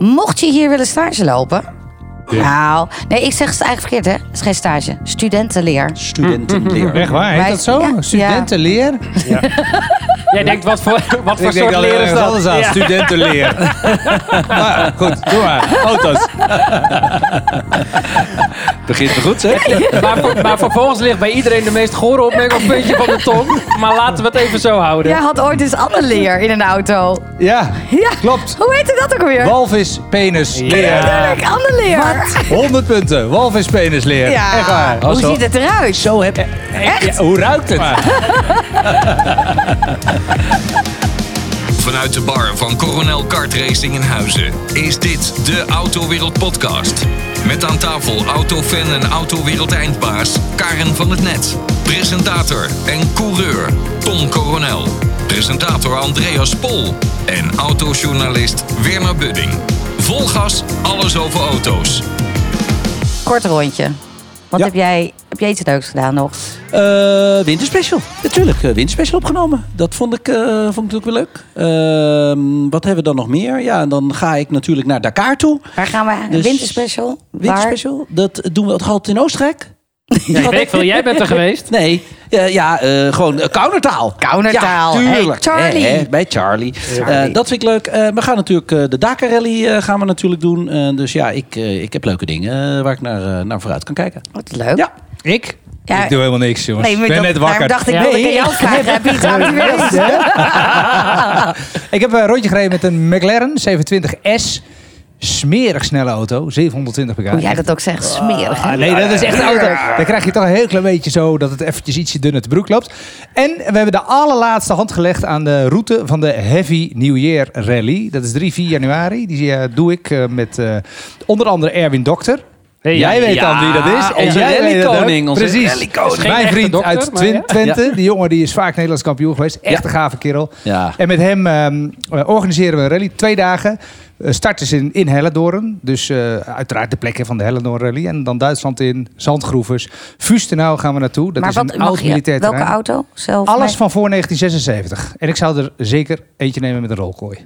Mocht je hier willen stage lopen. Nou, nee, ik zeg het eigenlijk verkeerd, hè? Het is geen stage. Studentenleer. Studentenleer. Echt waar, Ah, heet Wij- dat zo? ja, ja. Studentenleer? Jij denkt, wat voor, wat voor Ik denk soort dat er leer is ergens dat? anders aan. Ja. Studentenleer. maar goed, doe maar. Auto's. Begint me goed, zeg. Maar, voor- maar vervolgens ligt bij iedereen de meest gore opmerking op het puntje van de tong. Maar laten we het even zo houden. Jij had ooit eens ander leer in een auto. Ja, Ja. klopt. Hoe heette dat ook alweer? Walvis, penis, leer. Tuurlijk, ander leer. 100 punten. Walvis, penis, leer. Ja. Echt waar. Hoe ziet het eruit? Zo heb Echt? Ja, hoe ruikt het? Vanuit de bar van Coronel Kart Racing in Huizen is dit de Autowereld Podcast. Met aan tafel autofan en autowereld eindbaas Karen van het Net. Presentator en coureur Tom Coronel. Presentator Andreas Pol. En autojournalist Werner Budding. Vol gas, alles over auto's. Kort rondje. Wat Ja. heb, jij, heb jij iets leuks gedaan nog? Eh, winterspecial. Natuurlijk, eh, winterspecial opgenomen. Dat vond ik, eh, vond ik ook wel leuk. Ehm, wat hebben we dan nog meer? Ja, en dan ga ik natuurlijk naar Dakar toe. Waar gaan we? Dus- winterspecial? Winterspecial, dat doen we toch altijd in Oostenrijk? Ja, weet ik veel, jij bent er geweest. Nee, eh, ja, eh, gewoon eh, Kaunertaal. Kaunertaal. Ja, tuurlijk. Hey, Charlie. Hè, hè, bij Charlie. Charlie. Eh, dat vind ik leuk. Eh, we gaan natuurlijk eh, de Dakar Rally eh, gaan we natuurlijk doen. Eh, dus ja, ik, eh, ik heb leuke dingen eh, waar ik naar, eh, naar vooruit kan kijken. Waar? Wat leuk. Ja. Ik? Ja. Ik doe helemaal niks, jongens. ik ben dat- net daarom wakker. dacht ik, Ja. dat ik Nee, aan jou vragen. Heb je iets aan die wereld? Ik heb een rondje gereden met een McLaren 27S. Smerig snelle auto, 720 pk. Hoe jij Oh dat ook zegt, smerig. hè? Ah, nee, dat is echt een auto. Dan krijg je toch een heel klein beetje zo dat het eventjes ietsje dunner te broek loopt. En we hebben de allerlaatste hand gelegd aan de route van de Heavy New Year Rally. Dat is 3, 4 januari. Die eh, doe ik eh, met eh, onder andere Erwin Dokter. Hey, jij weet dan wie dat is. onze jij weet dat ook. rallykoning, onze Precies. rallykoning. Geen Mijn echte vriend dokter, uit maar Twin- ja. Twente. Die jongen die is vaak Nederlands kampioen geweest. Echt een gave kerel. Ja. En met hem ehm, eh, organiseren we een rally. Twee dagen. Eh, Start is in, in Hellendoorn. Dus eh, uiteraard de plekken van de Hellendoorn Rally. En dan Duitsland in. Zandgroevers. Fustenau gaan we naartoe. Dat maar is wat een mag oud je? Welke militair terrein. auto? Zelf? Alles van voor 1976. En ik zou er zeker eentje nemen met een rolkooi.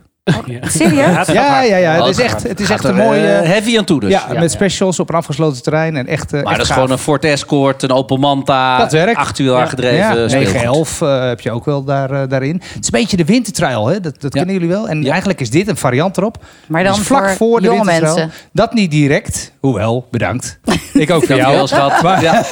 Nee. Serieus? Ja, ja, ja. Het is Oh, echt, het is gaat echt een er, mooie... eh, heavy aan toe dus. ja, met specials op een afgesloten terrein. En echt, eh, Maar echt dat is gaaf. gewoon een Ford Escort, een Opel Manta. Dat werkt. Acht uur aangedreven Ja, speelgoed. 911 eh, heb je ook wel daar, eh, daarin. Het is een beetje de wintertrail, hè? dat, dat Ja. kennen jullie wel. En Ja. eigenlijk is dit een variant erop. Maar dan Dus vlak voor voor, de jonge wintertrail. mensen. Dat niet direct, hoewel, bedankt. Ik ook voor Ja, wel, jou. schat. Ja.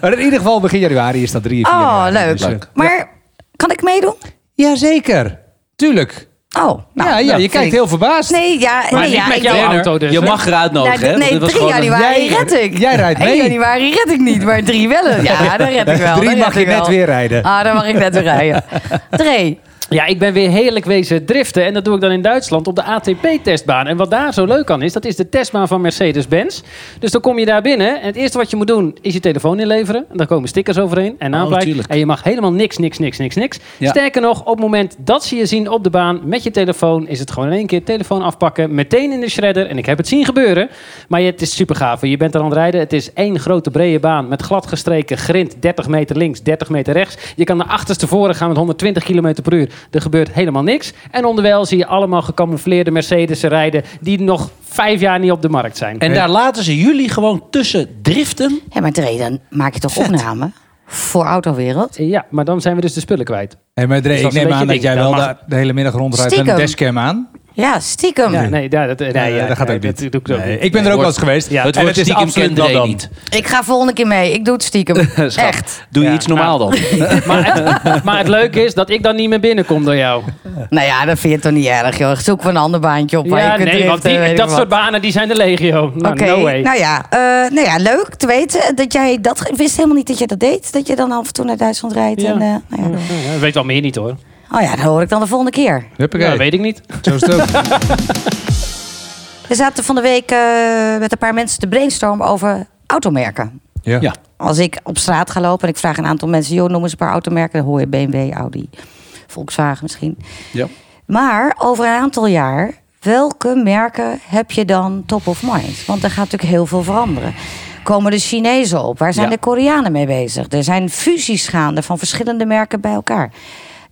Maar in ieder geval begin januari is dat 3 4 Oh, januari. leuk. Dus, eh, Maar kan ik meedoen? Jazeker, tuurlijk. Oh, nou, ja, ja, nou, je vind kijkt ik- heel verbaasd. Nee, ja, Maar nee, niet ja, met ik- jouw Nee, Werner, auto dus, je hè? mag eruit nodigen. hè, want Nou, nee, dit was 3 gewoon een- januari Jij- red ik. jij rijdt 1 mee. januari red ik niet, maar 3 wel. Ja, dan red ik wel. Drie dan red mag je ik net wel. weer rijden. Ah, dan mag ik net weer rijden. 3. Ja, ik ben weer heerlijk wezen driften. En dat doe ik dan in Duitsland op de ATP-testbaan. En wat daar zo leuk aan is, dat is de testbaan van Mercedes-Benz. Dus dan kom je daar binnen. En het eerste wat je moet doen, is je telefoon inleveren. En daar komen stickers overheen en naamplek. Oh, tuurlijk. en je mag helemaal niks, niks, niks, niks, niks. Ja. Sterker nog, op het moment dat ze je zien op de baan met je telefoon... is het gewoon in één keer telefoon afpakken, meteen in de shredder. En ik heb het zien gebeuren. Maar het is super gaaf. Je bent er aan het rijden. Het is één grote brede baan met glad gestreken grind. 30 meter links, 30 meter rechts. Je kan naar achterstevoren gaan met 120 km per uur. Er gebeurt helemaal niks. En onderwijl zie je allemaal gecamoufleerde Mercedes rijden... die nog vijf jaar niet op de markt zijn. En daar laten ze jullie gewoon tussen driften. Ja, maar 3, dan maak je toch opname voor Autowereld? Ja, maar dan zijn we dus de spullen kwijt. Hey, maar Dre, Dus dat ik is een neem aan dat beetje ding. jij wel Dat mag- daar de hele middag rondrijdt met een Stiekem. dashcam aan. Ja, stiekem. Ja, nee, daar, dat, nee, Nee, ja, dat gaat ja, ook niet. dat doe ik ook Nee, niet. Ik ben er ook wel eens geweest. Ja, het En het wordt is stiekem absoluut kinderen dan dan. niet. Ik ga volgende keer mee. Ik doe het stiekem. Schat, Echt. Doe je Ja. iets normaal dan? maar, het, maar het leuke is dat ik dan niet meer binnenkom door jou. Nou ja, dat vind je toch niet erg, joh. Zoek we een ander baantje op waar je ja, kunt nee, want driften, die, weet ik dat wat. soort banen die zijn de legio. Nou, Oké, no way. nou, ja, eh, nou ja, leuk te weten dat jij dat... Ik wist helemaal niet dat je dat deed, dat je dan af en toe naar Duitsland rijdt. Ja. En, eh, nou ja. Ja, dat weet wel meer niet hoor. Oh ja, dat hoor ik dan de volgende keer. Ja, dat Huppakee. weet ik niet. Zo is het ook. We zaten van de week eh, met een paar mensen te brainstormen over automerken. Ja. Als ik op straat ga lopen en ik vraag een aantal mensen... joh, noem eens een paar automerken, dan hoor je BMW, Audi, Volkswagen misschien. Ja. Maar over een aantal jaar, welke merken heb je dan top of mind? Want er gaat natuurlijk heel veel veranderen. Komen de Chinezen op? Waar zijn Ja. de Koreanen mee bezig? Er zijn fusies gaande van verschillende merken bij elkaar.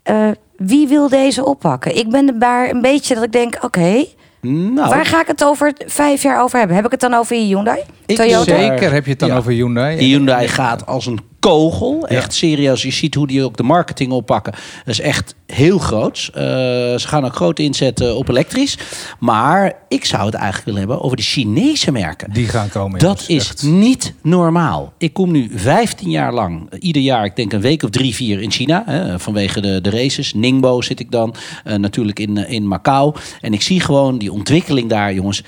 Eh, wie wil deze oppakken? Ik ben er daar een beetje dat ik denk, oké, Nou, Waar ga ik het over vijf jaar over hebben? Heb ik het dan over je Hyundai? Ik Toyota? zeker. Zeker heb je het dan Ja. over Hyundai. Die Hyundai gaat als een kogel. Ja. Echt serieus. Je ziet hoe die ook de marketing oppakken. Dat is echt heel groots. Eh, ze gaan ook groot inzetten op elektrisch. Maar ik zou het eigenlijk willen hebben over de Chinese merken. Die gaan komen. Dat jongens, is echt. niet normaal. Ik kom nu 15 jaar lang, eh, ieder jaar, ik denk een week of drie, vier in China. Hè, vanwege de, de races. Ningbo zit ik dan. eh, natuurlijk in, eh, in Macau. En ik zie gewoon die ontwikkeling daar, jongens.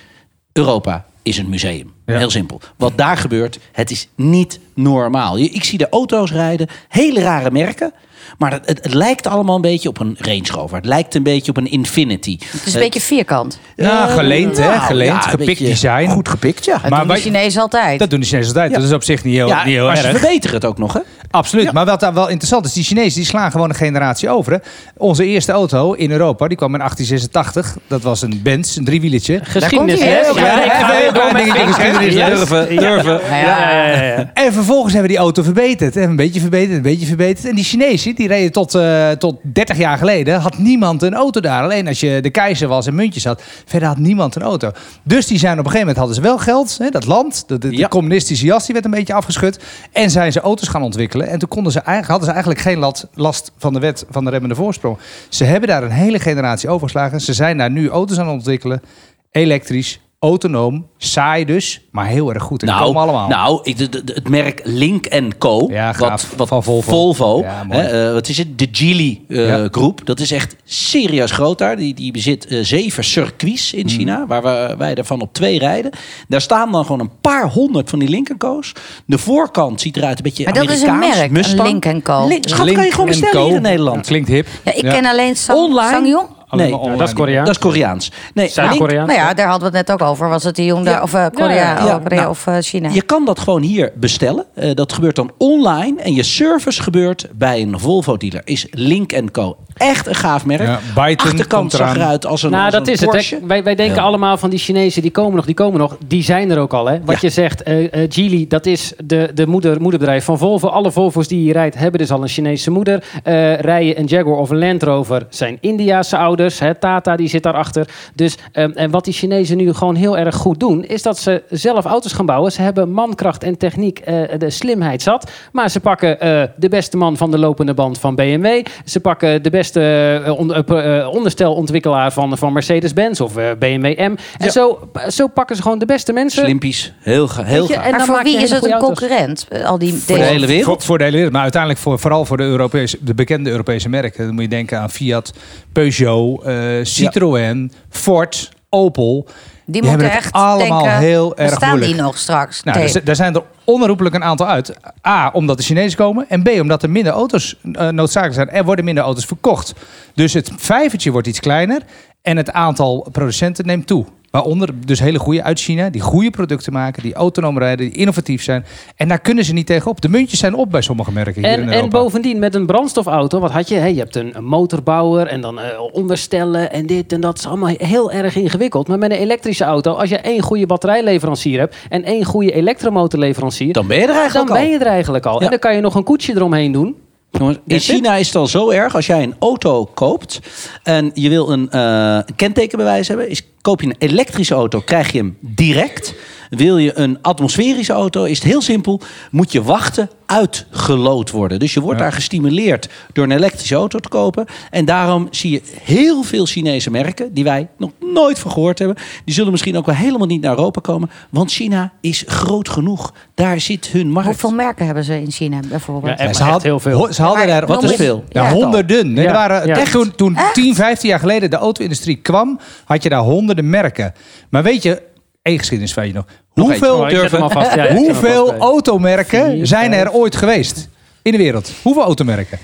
Europa is een museum. Ja. Heel simpel. Wat daar gebeurt, het is niet normaal. Je- Ik zie de auto's rijden, hele rare merken. Maar het, het, het lijkt allemaal een beetje op een Range Rover. Het lijkt een beetje op een Infinity. Eh, Het is een beetje vierkant. Eh, Nou, geleend, hè? Geleend. Gepikt design. Goed gepikt, ja. Dat Maar doen de wij- Chinezen altijd. Dat doen de Chinezen altijd. Dat is op zich niet heel, Ja, niet heel maar erg. ze verbeteren het ook nog, hè? Absoluut. Ja. Maar wat daar wel interessant is, die Chinezen die slaan gewoon een generatie over. Hè? Onze eerste auto in Europa, die kwam in 1886. Dat was een Benz, een driewieltje. Geschiedenis. komt-ie. hè? Heel klein- ik ga even weer heel door klein met dingetje mijn geschiedenis. vingers. Durven, Ja. durven. Ja, ja, ja, ja, ja. En vervolgens hebben we die auto verbeterd. En een beetje verbeterd, een beetje verbeterd. En die Chinezen, die reden tot, eh, tot 30 jaar geleden, had niemand een auto daar. Alleen als je de keizer was en muntjes had, verder had niemand een auto. Dus die zijn op een gegeven moment, hadden ze wel geld, hè, dat land. De, de, de Ja. communistische jas, die werd een beetje afgeschud. En zijn ze auto's gaan ontwikkelen. En toen konden ze eigenlijk, hadden ze eigenlijk geen last, last van de wet van de remmende voorsprong. Ze hebben daar een hele generatie overgeslagen. Ze zijn daar nu auto's aan het ontwikkelen. Elektrisch, autonoom, saai dus, maar heel erg goed. En die Nou, komen allemaal. nou ik- de- de- de- het merk Link Co. Ja, gaaf. wat, wat Van Volvo. Ja, mooi. hè, eh, wat is het? De Geely eh, Ja. Groep. Dat is echt serieus groot daar. Die, die bezit eh, zeven circuits Mm. in China, waar we, wij ervan op twee rijden. Daar staan dan gewoon een paar honderd van die Link Co's. De voorkant ziet eruit een beetje Maar dat is een Amerikaans. merk, een Mustang. Link Co. Link- Schat, kan je gewoon Link bestellen Co. hier in Nederland. Klinkt hip. Ja, ik ken alleen Sang, Online? Sangyong. Nee, Allemaal Ja, dat is Koreaans. dat is Koreaans. Nee, Link- Zuid-Koreaans. Nou ja, daar hadden we het net ook over. Was het de Hyundai Ja. of eh, Korea, Ja, ja, ja. oh, Korea Nou, of eh, China? Je kan dat gewoon hier bestellen. Eh, dat gebeurt dan online. En je service gebeurt bij een Volvo dealer. Is Link Co. Echt een gaaf merk. Ja, Byton komt Achterkant eraan. zag eruit als een Nou, als dat een is het. Porsche. hè. Wij, wij denken Ja. allemaal van die Chinezen, die komen nog, die komen nog. Die zijn er ook al, hè. Wat Ja. je zegt, eh eh, Geely, dat is de, de moeder, moederbedrijf van Volvo. Alle Volvo's die je rijdt, hebben dus al een Chinese moeder. Eh, rijden een Jaguar of een Land Rover zijn Indiaanse ouders. Hè. Tata, die zit daarachter. Dus, ehm, en wat die Chinezen nu gewoon heel erg goed doen, is dat ze zelf auto's gaan bouwen. Ze hebben mankracht en techniek, eh, de slimheid zat. Maar ze pakken eh, de beste man van de lopende band van BMW. Ze pakken de beste eh, on- eh, pro- eh, onderstelontwikkelaar van, van Mercedes-Benz of eh, BMW M. En Ja. zo, zo pakken ze gewoon de beste mensen. Slimpies. Heel, ge- heel Weet je, gaaf. en maar dan voor maak je wie is hele het een goede auto's. concurrent? Eh, Al die Voor de deze- hele wereld. Voor, voor de hele wereld, maar uiteindelijk voor, vooral voor de, Europese, de bekende Europese merken. Dan moet je denken aan Fiat, Peugeot, eh, Citroën, Ford, Opel. Die hebben moeten het echt allemaal denken, heel erg bestaan moeilijk. die nog straks? Nou, Nee. daar, zi- daar zijn er onherroepelijk een aantal uit. A, omdat de Chinezen komen. En B, omdat er minder auto's eh, noodzakelijk zijn. Er worden minder auto's verkocht. Dus het vijvertje wordt iets kleiner. En het aantal producenten neemt toe. Waaronder dus hele goede uit China. Die goede producten maken. Die autonoom rijden. Die innovatief zijn. En daar kunnen ze niet tegenop. De muntjes zijn op bij sommige merken hier in En, Europa. en bovendien met een brandstofauto, wat had je? Hè, je hebt een, een motorbouwer en dan eh, onderstellen en dit en dat. Het is allemaal heel erg ingewikkeld. Maar met een elektrische auto, als je één goede batterijleverancier hebt en één goede elektromotorleverancier, Dan ben je er dan eigenlijk al. ben je er eigenlijk al. Ja. En dan kan je nog een koetsje eromheen doen. Jongens, in That's it. China is het al zo erg. Als jij een auto koopt en je wil een eh, kentekenbewijs hebben, is, koop je een elektrische auto, krijg je hem direct. Wil je een atmosferische auto, is het heel simpel. Moet je wachten, uitgelood worden. Dus je wordt Ja. daar gestimuleerd door een elektrische auto te kopen. En daarom zie je heel veel Chinese merken die wij nog nooit van gehoord hebben. Die zullen misschien ook wel helemaal niet naar Europa komen. Want China is groot genoeg. Daar zit hun markt. Hoeveel merken hebben ze in China bijvoorbeeld? Ja, echt. ze maar had- heel veel. ho- Ze hadden Maar daar wat noem is eens- veel? Ja, Ja. honderden. Nee, Ja, Er waren, ja. echt, toen toen 10, 15 jaar geleden de auto-industrie kwam, had je daar honderden merken. Maar weet je, één geschiedenisfeitje nog. Hoeveel, Oh, ik zet hem durven, alvast. Ja, ik zet hem hoeveel alvast bij. automerken Vier, zijn er vijf. ooit geweest? In de wereld. Hoeveel automerken?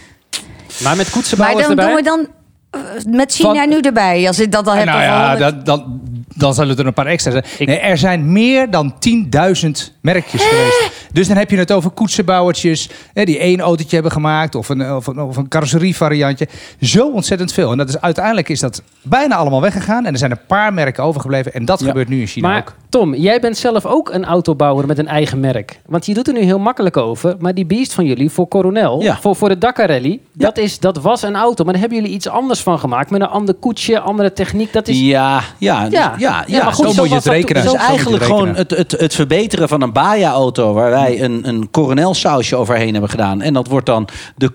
Maar met Maar koetsenbouwers dan doen erbij. we dan eh, met China Van- nu erbij. Als ik dat al heb. nou over ja, honderd. dat, dan, dan zullen er een paar extra zijn. Ik- Nee, er zijn meer dan 10.000 merkjes geweest. Dus dan heb je het over koetsenbouwertjes hè, die één autootje hebben gemaakt of een, of een, of een carrosserievariantje. Zo ontzettend veel. En dat is, uiteindelijk is dat bijna allemaal weggegaan en er zijn een paar merken overgebleven. En dat Ja. gebeurt nu in China Maar ook. Tom, jij bent zelf ook een autobouwer met een eigen merk. Want je doet er nu heel makkelijk over. Maar die beest van jullie voor Coronel, Ja. voor, voor de Dakar Rally, dat, is, dat was een auto. Maar daar hebben jullie iets anders van gemaakt. Met een ander koetsje, andere techniek. Dat is... Ja, ja, Ja. ja, ja, Ja, maar goed, Zo zo moet je het was dat rekenen. toen- Het zo is moet je het eigenlijk rekenen. gewoon het, het, het verbeteren van een Baja-auto... waar wij een, een Coronel-sausje overheen hebben gedaan. En dat wordt dan de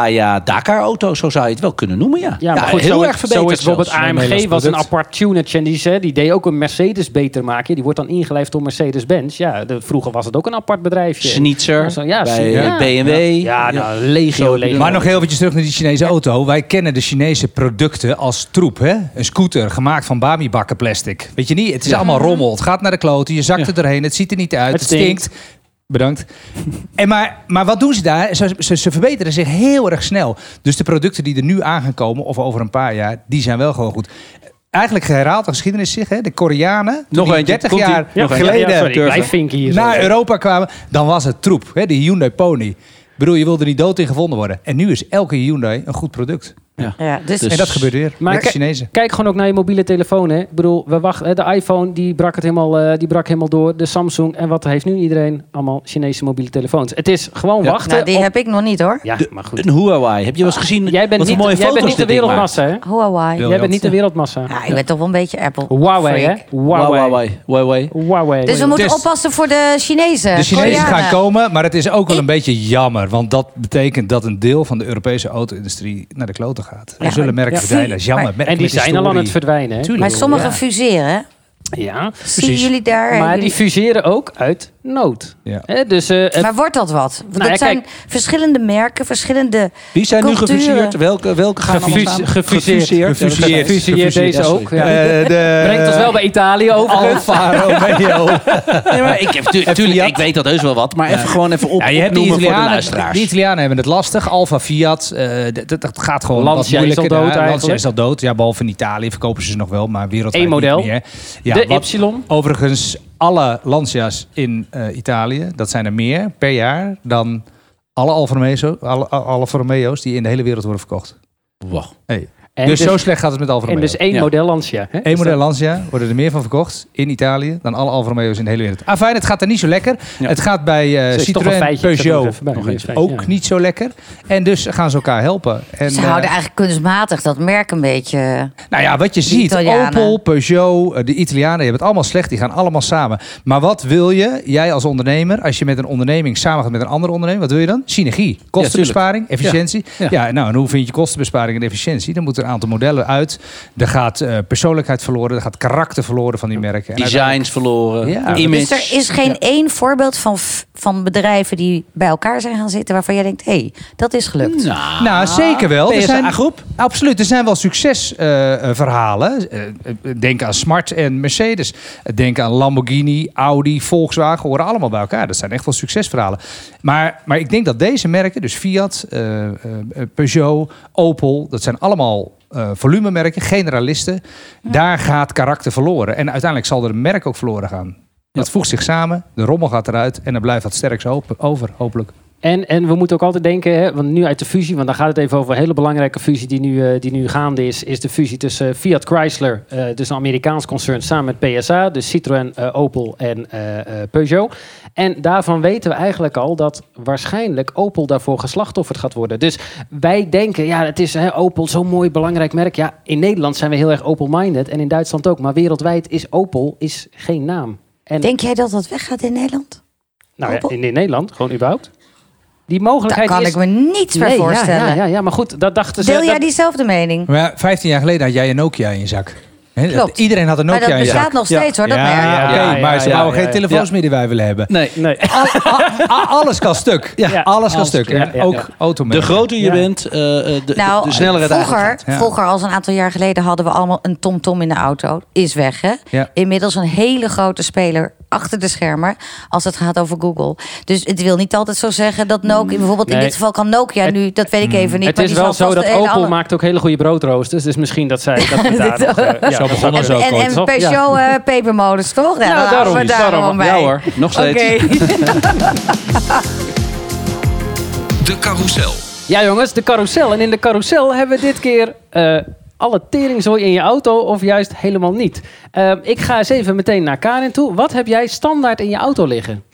Coronel-Baja-Dakar-auto. Zo zou je het wel kunnen noemen, ja. Ja, maar goed, heel zo, erg verbeterd zo is bijvoorbeeld zelfs. AMG Nederlands was een product. apart tunetje. En die, zei- die deed ook een Mercedes beter maken. Die wordt dan ingelijfd door Mercedes-Benz. Ja, de, vroeger was het ook een apart bedrijfje. Snitzer Zo, ja, bij Sni- eh, ja. BMW. Ja, nou, legio, legio. Maar nog heel eventjes terug naar die Chinese auto. Wij kennen de Chinese producten als troep. Hè? Een scooter gemaakt van bamibakkenplastic. plastic. Weet je niet? Het is allemaal rommel. Het gaat naar de kloten. Je zakt er doorheen. Het ziet er niet uit. Het Het, stinkt. stinkt. Bedankt. En maar, maar wat doen ze daar? Ze, ze, ze verbeteren zich heel erg snel. Dus de producten die er nu aan gaan komen, of over een paar jaar, die zijn wel gewoon goed. Eigenlijk herhaalt de geschiedenis zich. Hè? De Koreanen, toen Nog die eentje. 30 Komt-ie. jaar Ja, ja, geleden sorry, ik blijf vinken hier. Nou, naar zo. Europa kwamen, dan was het troep. Hè? De Hyundai Pony. Ik bedoel, je wilde niet dood in gevonden worden. En nu is elke Hyundai een goed product. Ja, dus, Dus- En dat gebeurt weer. Maar Maar de ik- Chinezen. Kijk Eh, gewoon ook naar je mobiele telefoon. Hè. Ik bedoel, we wachten, hè, de iPhone die brak, het helemaal, eh, die brak helemaal door. De Samsung. En wat heeft nu iedereen? Allemaal Chinese mobiele telefoons. Het is gewoon Ja. wachten. nou, die op- heb ik nog niet hoor. Ja, maar goed. Een Huawei. Heb je wel eens gezien Ah, Jij wat bent niet, een mooie jij foto's bent niet de dit ding maakt? wereldmassa, hè? Huawei. Jij bent niet de wereldmassa. Ja, ik ben toch wel een beetje Apple. Huawei, freak. hè? Huawei. Huawei. Huawei. Huawei. Dus we moeten Test. oppassen voor de Chinezen. De Chinezen Koreanen. gaan komen, maar het is ook wel een beetje jammer. Want dat betekent dat een deel van de Europese auto-industrie naar de kloten gaat. Er Ja. zullen merken Ja. verdwijnen. Dat is jammer. Maar- En die zijn al aan het verdwijnen. Hè? Maar sommigen Ja. fuseren. hè? Ja. Zien jullie daar? Maar die jullie- fuseren ook uit nood. Ja. Hè, dus eh, het- Maar wordt dat wat? Want Nou ja, dat zijn verschillende merken, verschillende... Wie zijn nu Culturen. gefuseerd? Welke, welke gaan Gefuse- allemaal samen? gefuseerd. Gefuseerd. Gefuseerd deze sorry. ook, ja. Eh, Eh, de- brengt ons wel bij Italië Oh. over. Alfa Romeo. nee, maar ik, heb tu- tuurlijk, ik weet dat heus wel wat, maar even gewoon even op, Ja, je hebt de opnoemen voor de Italianen, luisteraars. de Italianen hebben het lastig. Alfa Fiat, eh, dat- dat, dat gaat gewoon Lancia wat is al moeilijker. dood Ja, Lancia eigenlijk. is al dood. Ja, behalve in Italië verkopen ze ze nog wel, maar wereldwijd Eén model. niet meer. Ja, de wat- Ypsilon. Overigens, alle Lancia's in eh, Italië, dat zijn er meer per jaar dan alle Alfa, Romeo's, alle, Alfa Romeo's die in de hele wereld worden verkocht. Wow. Hey. En dus, zo slecht gaat het met Alfa En Romeo. dus één Ja. model Lancia. hè? Dus Eén model Lancia worden er meer van verkocht in Italië dan alle Alfa Romeo's in de hele wereld. Ah, fijn, het gaat er niet zo lekker. Ja. Het gaat bij eh Dus is toch een Citroën, feitje, ik zet hem er Peugeot even bij. nog eens. ook Ja. niet zo lekker. En dus gaan ze elkaar helpen. En, Ze eh, houden eigenlijk kunstmatig dat merk een beetje... Dus nou ja, wat je ziet, Italianen. Opel, Peugeot, eh, de Italianen, die hebben het allemaal slecht. Die gaan allemaal samen. Maar wat wil je, jij als ondernemer, als je met een onderneming samen gaat met een andere onderneming, wat wil je dan? Synergie, kostenbesparing, efficiëntie. Ja. Ja. nou, en hoe vind je kostenbesparing en efficiëntie? Dan moeten er een aantal modellen uit. Er gaat eh, persoonlijkheid verloren, er gaat karakter verloren van die merken. En Designs verloren, Ja. image. Dus er is geen één voorbeeld van, f- van bedrijven die bij elkaar zijn gaan zitten... waarvan jij denkt, hé, hey, dat is gelukt. Nou, Nou, zeker wel. Er zijn- groep. Absoluut, er zijn wel succesverhalen. Eh, denk aan Smart en Mercedes. Denk aan Lamborghini, Audi, Volkswagen. Horen allemaal bij elkaar. Dat zijn echt wel succesverhalen. Maar, maar ik denk dat deze merken, dus Fiat, eh, eh, Peugeot, Opel... dat zijn allemaal eh, volumemerken, generalisten. Daar gaat karakter verloren. En uiteindelijk zal er een merk ook verloren gaan. Dat voegt zich samen, de rommel gaat eruit... en dan blijft wat sterks open- over, hopelijk. En, en we moeten ook altijd denken, hè, want nu uit de fusie, want daar gaat het even over een hele belangrijke fusie die nu, eh, die nu gaande is, is de fusie tussen eh, Fiat Chrysler, eh, dus een Amerikaans concern, samen met PSA, dus Citroën, eh, Opel en eh, eh, Peugeot. En daarvan weten we eigenlijk al dat waarschijnlijk Opel daarvoor geslachtofferd gaat worden. Dus wij denken, ja, het is hè, Opel zo'n mooi belangrijk merk. Ja, in Nederland zijn we heel erg open-minded en in Duitsland ook, maar wereldwijd is Opel is geen naam. En Denk jij dat dat weggaat in Nederland? nou, ja, Opel? in, in Nederland, gewoon überhaupt. Die Daar mogelijkheid kan is ik me niets meer Nee, ja, voorstellen. Ja, ja, ja, maar goed, dat dachten ze. Deel jij dat- diezelfde mening? Maar ja, 15 jaar geleden had jij een Nokia in je zak. Hè, dat- Klopt. Iedereen had een Maar Nokia dat in je zak. bestaat nog steeds hoor, dat merk. ja, oké, Ja, ja, maar ze ja, bouwen ja, geen ja. telefoons meer die wij willen hebben. Nee. Nee. A- alles kan stuk. Ja, alles kan alles stuk. stuk. En Ja, ja, ook ja. De automerken. groter je Ja. bent, eh, eh, de, Nou, de sneller het vroeger, eigenlijk ja. vroeger, als een aantal jaar geleden, hadden we allemaal een TomTom in de auto. Is weg, hè? Ja. Inmiddels een hele grote speler achter de schermen als het gaat over Google. Dus het wil niet altijd zo zeggen dat Nokia, bijvoorbeeld in Mm. Nee. dit geval kan Nokia Het- Mm. nu, dat weet ik even niet. het maar is die wel zal zo vast dat een hele Opel andere- maakt ook hele goede broodroosters. Dus misschien dat zij dat we daar Dit nog... eh, ja, Zo dat begonnen zou ze En, ook en, kunnen. ooit, en toch? Peugeot eh, pepermolens, toch? Ja, Nou, daar daarom houden is, we daarom. bij. Ja hoor, nog steeds. Oké. De carousel. Ja jongens, de carousel. En in de carousel hebben we dit keer eh, alle teringzooi in je auto of juist helemaal niet. Eh, ik ga eens even meteen naar Karin toe. Wat heb jij standaard in je auto liggen?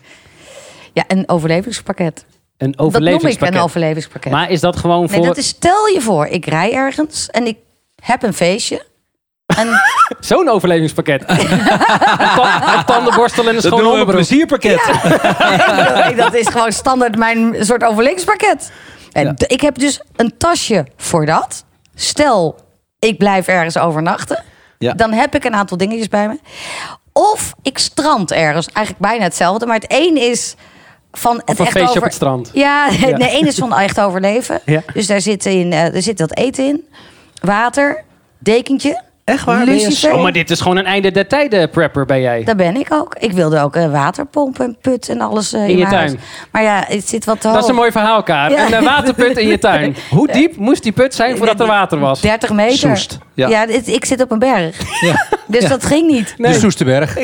Ja, een overlevingspakket. Een Dat noem ik overlevingspakket. een overlevingspakket. maar is dat gewoon voor... Nee, dat is, stel je voor, ik rij ergens en ik heb een feestje. En Zo'n overlevingspakket. een, ta- een tandenborstel en een Dat schone noemen we een onderbroek. plezierpakket. Nee, dat is gewoon standaard mijn soort overlevingspakket. En d- ik heb dus een tasje voor dat. Stel, ik blijf ergens overnachten. Ja. Dan heb ik een aantal dingetjes bij me. Of ik strand ergens. Eigenlijk bijna hetzelfde. Maar het een is van het een echt feestje op over... het strand. Ja, nee, de een is van echt overleven. Ja. Dus daar zit, in, eh, er zit dat eten in. Water, dekentje. Echt waar? Ben je lucifer. Oh, maar dit is gewoon een einde der tijden prepper bij jij. Daar ben ik ook. Ik wilde ook eh, waterpompen en put en alles eh, In je mijn huis. tuin. Maar ja, het zit wat te Dat is een hoog. mooi verhaal, Kaar. Ja. Een eh, waterput in je tuin. Hoe diep moest die put zijn voordat er water was? 30 meter. Soest, ja. Ja, dit- ik zit op een berg. Ja. Dus dat ging niet. De Soesterberg.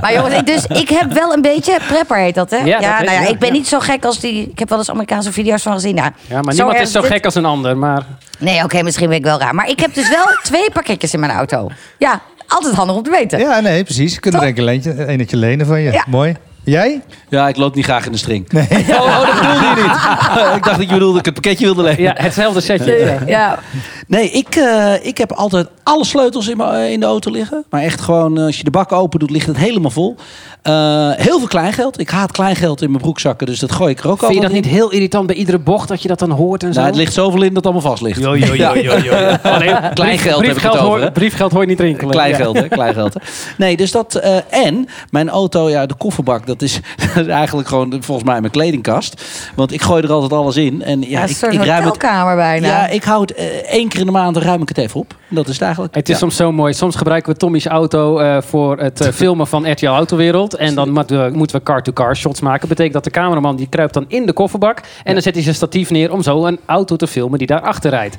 Maar jongens, ik- dus ik heb wel een beetje... Prepper heet dat, hè? Ja, dat nou weet ja, ik, ik ben ja. niet zo gek als die... Ik heb wel eens Amerikaanse video's van gezien. Nou, Ja, maar niemand erg is zo dit- gek als een ander. Maar Nee, oké, misschien ben ik wel raar. Maar ik heb dus wel twee pakketjes in mijn auto. Ja, altijd handig om te weten. Ja, nee, precies. Je kunt er denk ik een leentje, eentje lenen van je. Ja. Mooi. Jij? Ja, ik loop niet graag in de string. Oh, oh, dat bedoelde je niet. ik dacht dat je bedoelde dat ik het pakketje wilde leggen. ja, hetzelfde setje. Ja. ja. Nee, ik, eh, ik heb altijd alle sleutels in, mijn- eh, in de auto liggen. Maar echt gewoon, eh, als je de bak open doet, ligt het helemaal vol. Eh, heel veel kleingeld. Ik haat kleingeld in mijn broekzakken, dus dat gooi ik er ook al. Vind je dat niet heel irritant bij iedere bocht dat je dat dan hoort en zo? Nou, het ligt zoveel in dat het allemaal vast ligt. Jo, jo, jo, jo, jo. Alleen Kleingeld heb ik het briefgeld, over, hoor, hè? briefgeld hoor je niet rinkelen. Kleingeld, hè? Kleingeld, hè? Nee, dus dat... eh, en mijn auto, ja, de kofferbak, dat is, dat is eigenlijk gewoon volgens mij mijn kledingkast. Want ik gooi er altijd alles in. En ja, een ik, soort ik ruim het... hotelkamer bijna. Ja, ik hou het eh, één keer in de maand, ruim ik het even op. En Dat is het eigenlijk. Het is ja. soms zo mooi. Soms gebruiken we Tommy's auto eh, voor het eh, filmen van RTL Autowereld. En dan moeten we- moeten we car-to-car shots maken. Betekent dat de cameraman die kruipt dan in de kofferbak. En dan zet hij zijn statief neer om zo een auto te filmen die daarachter rijdt.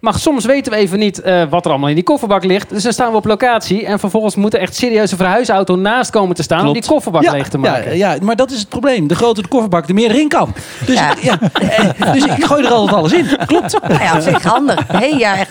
Maar soms weten we even niet eh, wat er allemaal in die kofferbak ligt. Dus dan staan we op locatie. En vervolgens moet er echt serieuze verhuisauto naast komen te staan. om Klopt. die kofferbak Ja, leeg te maken. Ja, ja, maar dat is het probleem. De groter de kofferbak, de meer erin kan. Dus, Ja. ik- ja. eh, dus ik gooi er altijd alles in. Klopt. Nou ja, op zich handig. Hey, ja, echt.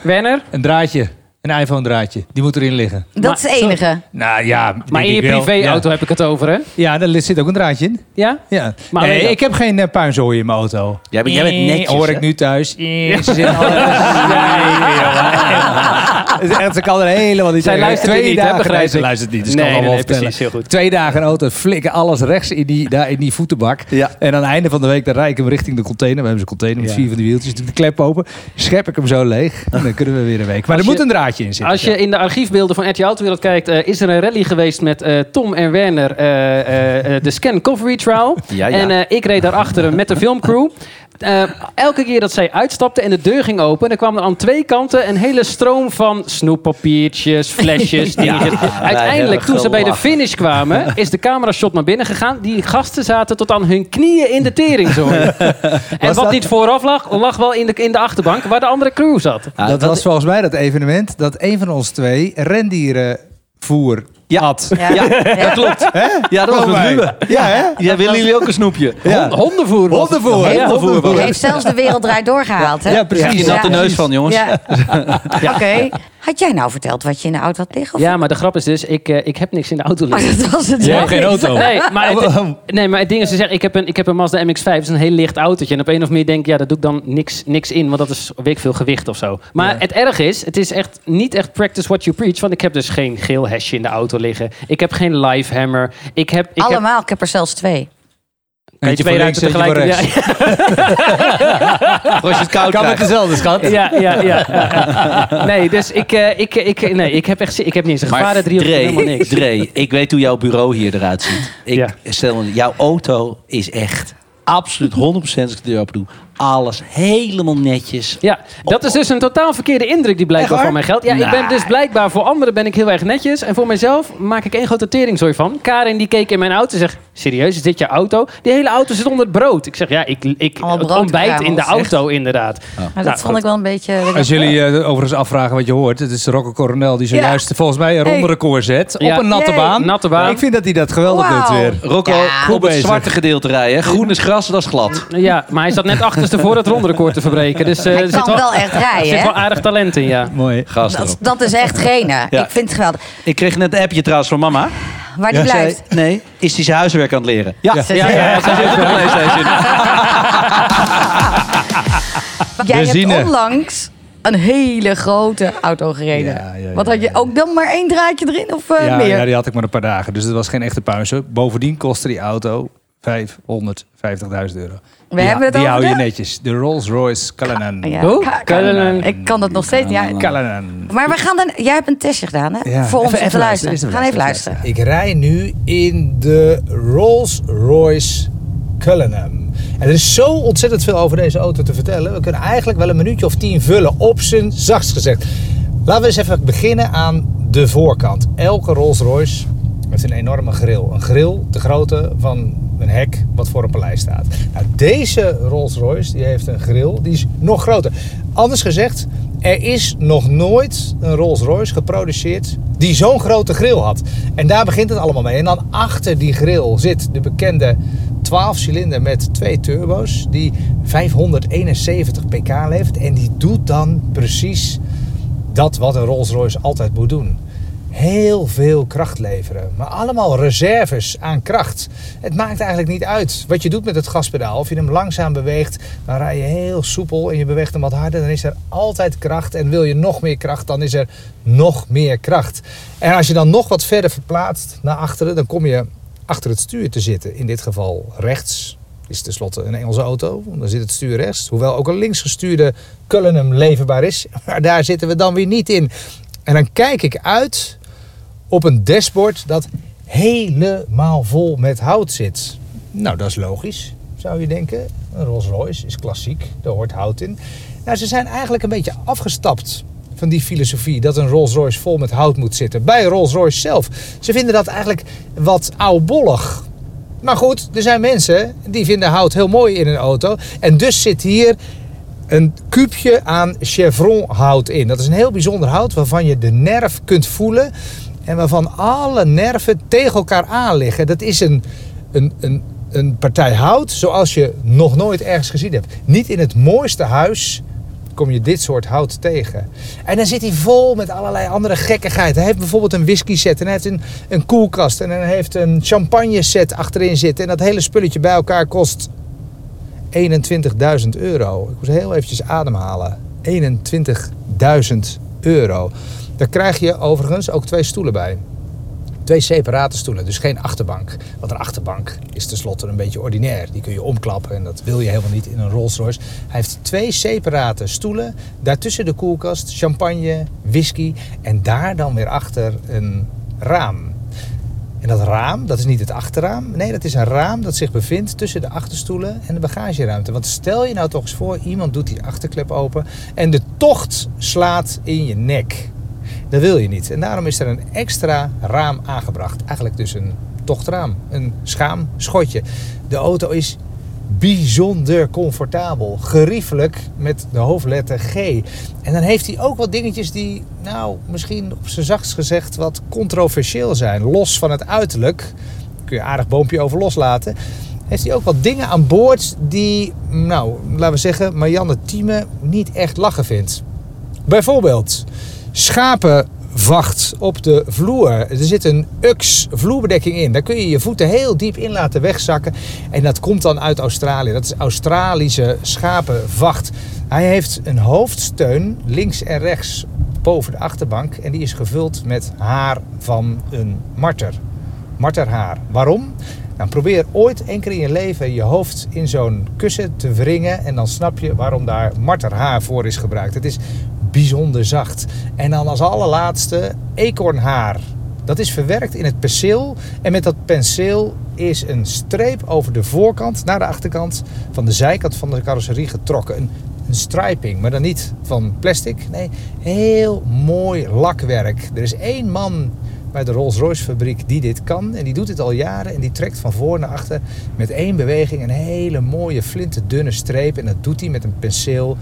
Werner, Een draadje. Een iPhone draadje. Die moet erin liggen. Dat Maar- is het enige. Nou ja, maar in je privéauto heb ik het over, hè? Ja, daar zit ook een draadje in. Ja? Ja. Maar nee, alleen dat- ik heb geen eh, puinzooi in mijn auto. Jij bent- jij bent Eh, netjes, Hoor ik hè? nu thuis. Eh, Ze zitten allemaal- Nee, joh. Het is echt, ze kan er helemaal niet Zij tegen. luistert Twee dit niet, hè, dagen, begrijp nee, ze ik. luistert niet, dus Nee, kan allemaal nee, nee, vertellen. precies, heel goed. Twee dagen auto, flikken alles rechts in die, daar in die voetenbak. Ja. En aan het einde van de week, dan rijd ik hem richting de container. We hebben zo'n container met Ja. vier van die wieltjes. Doe ik De klep open, schep ik hem zo leeg. En dan kunnen we weer een week. Maar Als er moet je- een draadje in zitten. Als je in de archiefbeelden van RTL Autowereld kijkt, eh, is er een rally geweest met eh, Tom en Werner, eh, eh, eh, de Scan Covery Trial. Ja, ja. En eh, ik reed daarachter met de filmcrew. Eh, elke keer dat zij uitstapte en de deur ging open, dan kwam er aan twee kanten een hele stroom van snoeppapiertjes, flesjes, dingetjes. wij Uiteindelijk, hebben toen ze bij de gelachen. finish kwamen, is de camerashot naar binnen gegaan. Die gasten zaten tot aan hun knieën in de teringzooi. en wat dat- niet vooraf lag, lag wel in de, in de achterbank waar de andere crew zat. Ja, dat, was volgens mij dat evenement dat een van ons twee rendieren voer Ja. had. Ja. Ja, Ja. dat klopt. Ja, dat was Volgens met mij. Ruben. Ja, hè? Oh Ja, willen jullie ook een snoepje? Ja. Hond- Hondenvoer. was het. Hondenvoer. Ja, hondenvoer. Die heeft zelfs de wereld draait doorgehaald, hè? Ja, precies. Je Ja. zat de neus van, jongens. Ja. Oké. Had jij nou verteld wat je in de auto had liggen? Of... Ja, maar de grap is dus, ik, eh, ik heb niks in de auto Oh, liggen. dat Oh. was het Jij wel hebt geen niet. auto. Nee, maar het, nee, maar het ding is, ze zeggen, ik heb, een, ik heb een Mazda MX-5, dat is een heel licht autootje. En op een of meer denk ik, ja, daar doe ik dan niks, niks in, want dat is weet ik veel gewicht of zo. Maar het erg is, het is echt niet echt practice what you preach, want ik heb dus geen geel hesje in de auto liggen. Ik heb geen live hammer. Ik heb, ik heb Allemaal, ik heb er zelfs twee. Nee, twee ruiten tegelijk. Ja, Als je het koud Kan met krijgt. dezelfde schat. Ja, ja, ja, ja, ja. Nee, dus ik, eh, ik, ik, nee, ik heb echt, zin- ik heb niet eens een Maar gevaren drie of helemaal Dre, niks. Dre, ik weet hoe jouw bureau hier eruit ziet. Ik Ja. stel, jouw auto is echt absoluut 100% als ik de deur open doe. alles helemaal netjes. Ja, dat is dus een totaal verkeerde indruk die Echt blijkbaar waar? van mij geldt. Ja, ik ben dus blijkbaar voor anderen ben ik heel erg netjes. En voor mijzelf maak ik één grote teringzooi van. Karin die keek in mijn auto en zegt, serieus, is dit je auto? Die hele auto zit onder het brood. Ik zeg, ja, ik, ik Allemaal het brood ontbijt in de kruimels, auto inderdaad. Maar Nou, dat vond ik wel een beetje... Als jullie eh, overigens afvragen wat je hoort, het is Rocco Coronel die zojuist volgens mij een Hey. ronde record zet Ja. op een natte Yay. baan. Natte baan. Ik vind dat hij dat geweldig Wauw. doet weer. Rocco, Ja. op het bezig. zwarte gedeelte rijden. Groen is gras, dat is glad. Ja, maar hij zat net achterste voor het rondrecord te verbreken. Dus eh, Hij er zit kan wel, wel echt er rijden, zit hè? wel aardig talent in, ja. Mooi. Gas erop. Dat, dat is echt genen. Ja. Ik vind het geweldig. Ik kreeg net een appje trouwens van mama. Waar die Ja, zij- blijft. Zei, nee, is hij zijn huiswerk aan het leren? Ja. Ze Ja, zegt, ja, ja. Hij zit op de PlayStation. Jij Benzine. hebt onlangs een hele grote auto gereden. Ja, ja, ja, Wat had je ja, ja. ook dan maar één draadje erin of eh, ja, meer? ja, die had ik maar een paar dagen, dus dat was geen echte pauze. Bovendien kostte die auto 550.000 euro. We die hebben het die over hou je de- netjes. De Rolls-Royce Callanan. Ja, Hoe? ka- Callanan. Ik kan dat nog steeds. Ja, Callanan. maar we gaan dan. Jij hebt een testje gedaan, hè? Voor ons om te luisteren. We gaan even luisteren. Ik rij nu in de Rolls-Royce Cullinan. En er is zo ontzettend veel over deze auto te vertellen. We kunnen eigenlijk wel een minuutje of tien vullen, op zijn zachtst gezegd. Laten we eens even beginnen aan de voorkant. Elke Rolls-Royce heeft een enorme grill. Een grill de grootte van een hek wat voor een paleis staat. Nou, deze Rolls-Royce die heeft een grill die is nog groter. Anders gezegd, er is nog nooit een Rolls-Royce geproduceerd die zo'n grote grill had. En daar begint het allemaal mee. En dan achter die grill zit de bekende 12-cilinder met twee turbo's die 571 pk levert. En die doet dan precies dat wat een Rolls-Royce altijd moet doen. Heel veel kracht leveren, maar allemaal reserves aan kracht. Het maakt eigenlijk niet uit wat je doet met het gaspedaal. Of je hem langzaam beweegt, dan rij je heel soepel en je beweegt hem wat harder. Dan is er altijd kracht en wil je nog meer kracht, dan is er nog meer kracht. En als je dan nog wat verder verplaatst naar achteren, dan kom je achter het stuur te zitten. In dit geval rechts, is tenslotte een Engelse auto. Dan zit het stuur rechts. Hoewel ook een linksgestuurde Cullinan leverbaar is. Maar daar zitten we dan weer niet in. En dan kijk ik uit op een dashboard dat helemaal vol met hout zit. Nou, dat is logisch, zou je denken. Een Rolls Royce is klassiek, daar hoort hout in. Nou, ze zijn eigenlijk een beetje afgestapt van die filosofie dat een Rolls Royce vol met hout moet zitten. Bij Rolls Royce zelf. Ze vinden dat eigenlijk wat oudbollig. Maar goed, er zijn mensen die vinden hout heel mooi in een auto. En dus zit hier een kuubje aan chevronhout in. Dat is een heel bijzonder hout waarvan je de nerf kunt voelen. En waarvan alle nerven tegen elkaar aan liggen. Dat is een, een, een, een partij hout zoals je nog nooit ergens gezien hebt. Niet in het mooiste huis kom je dit soort hout tegen. En dan zit hij vol met allerlei andere gekkigheid. Hij heeft bijvoorbeeld een whisky set en hij heeft een, een koelkast en hij heeft een champagne set achterin zitten. En dat hele spulletje bij elkaar kost 21.000 euro. Ik moest heel eventjes ademhalen. 21.000 euro. Daar krijg je overigens ook twee stoelen bij. Twee separate stoelen, dus geen achterbank. Want een achterbank is tenslotte een beetje ordinair. Die kun je omklappen en dat wil je helemaal niet in een Rolls Royce. Hij heeft twee separate stoelen. Daartussen de koelkast, champagne, whisky. En daar dan weer achter een raam. En dat raam, dat is niet het achterraam. Nee, dat is een raam dat zich bevindt tussen de achterstoelen en de bagageruimte. Want stel je nou toch eens voor, iemand doet die achterklep open en de tocht slaat in je nek. Dat wil je niet. En daarom is er een extra raam aangebracht. Eigenlijk dus een tochtraam, een schaamschotje. De auto is bijzonder comfortabel. Geriefelijk met de hoofdletter G. En dan heeft hij ook wat dingetjes die, nou, misschien op zijn zachtst gezegd wat controversieel zijn. Los van het uiterlijk, kun je aardig boompje over loslaten. Heeft hij ook wat dingen aan boord die, nou, laten we zeggen, Marianne Thieme niet echt lachen vindt. Bijvoorbeeld schapenvacht op de vloer. Er zit een UX vloerbedekking in. Daar kun je je voeten heel diep in laten wegzakken. En dat komt dan uit Australië. Dat is Australische schapenvacht. Hij heeft een hoofdsteun links en rechts boven de achterbank. En die is gevuld met haar van een marter. Marterhaar. Waarom? Nou, probeer ooit één keer in je leven je hoofd in zo'n kussen te wringen. En dan snap je waarom daar marterhaar voor is gebruikt. Het is bijzonder zacht. En dan als allerlaatste eekhoornhaar. Dat is verwerkt in het penseel. En met dat penseel is een streep over de voorkant naar de achterkant van de zijkant van de carrosserie getrokken. Een, een striping, maar dan niet van plastic. Nee, heel mooi lakwerk. Er is één man bij de Rolls-Royce fabriek die dit kan. En die doet dit al jaren en die trekt van voor naar achter met één beweging een hele mooie flinterdunne streep. En dat doet hij met een penseel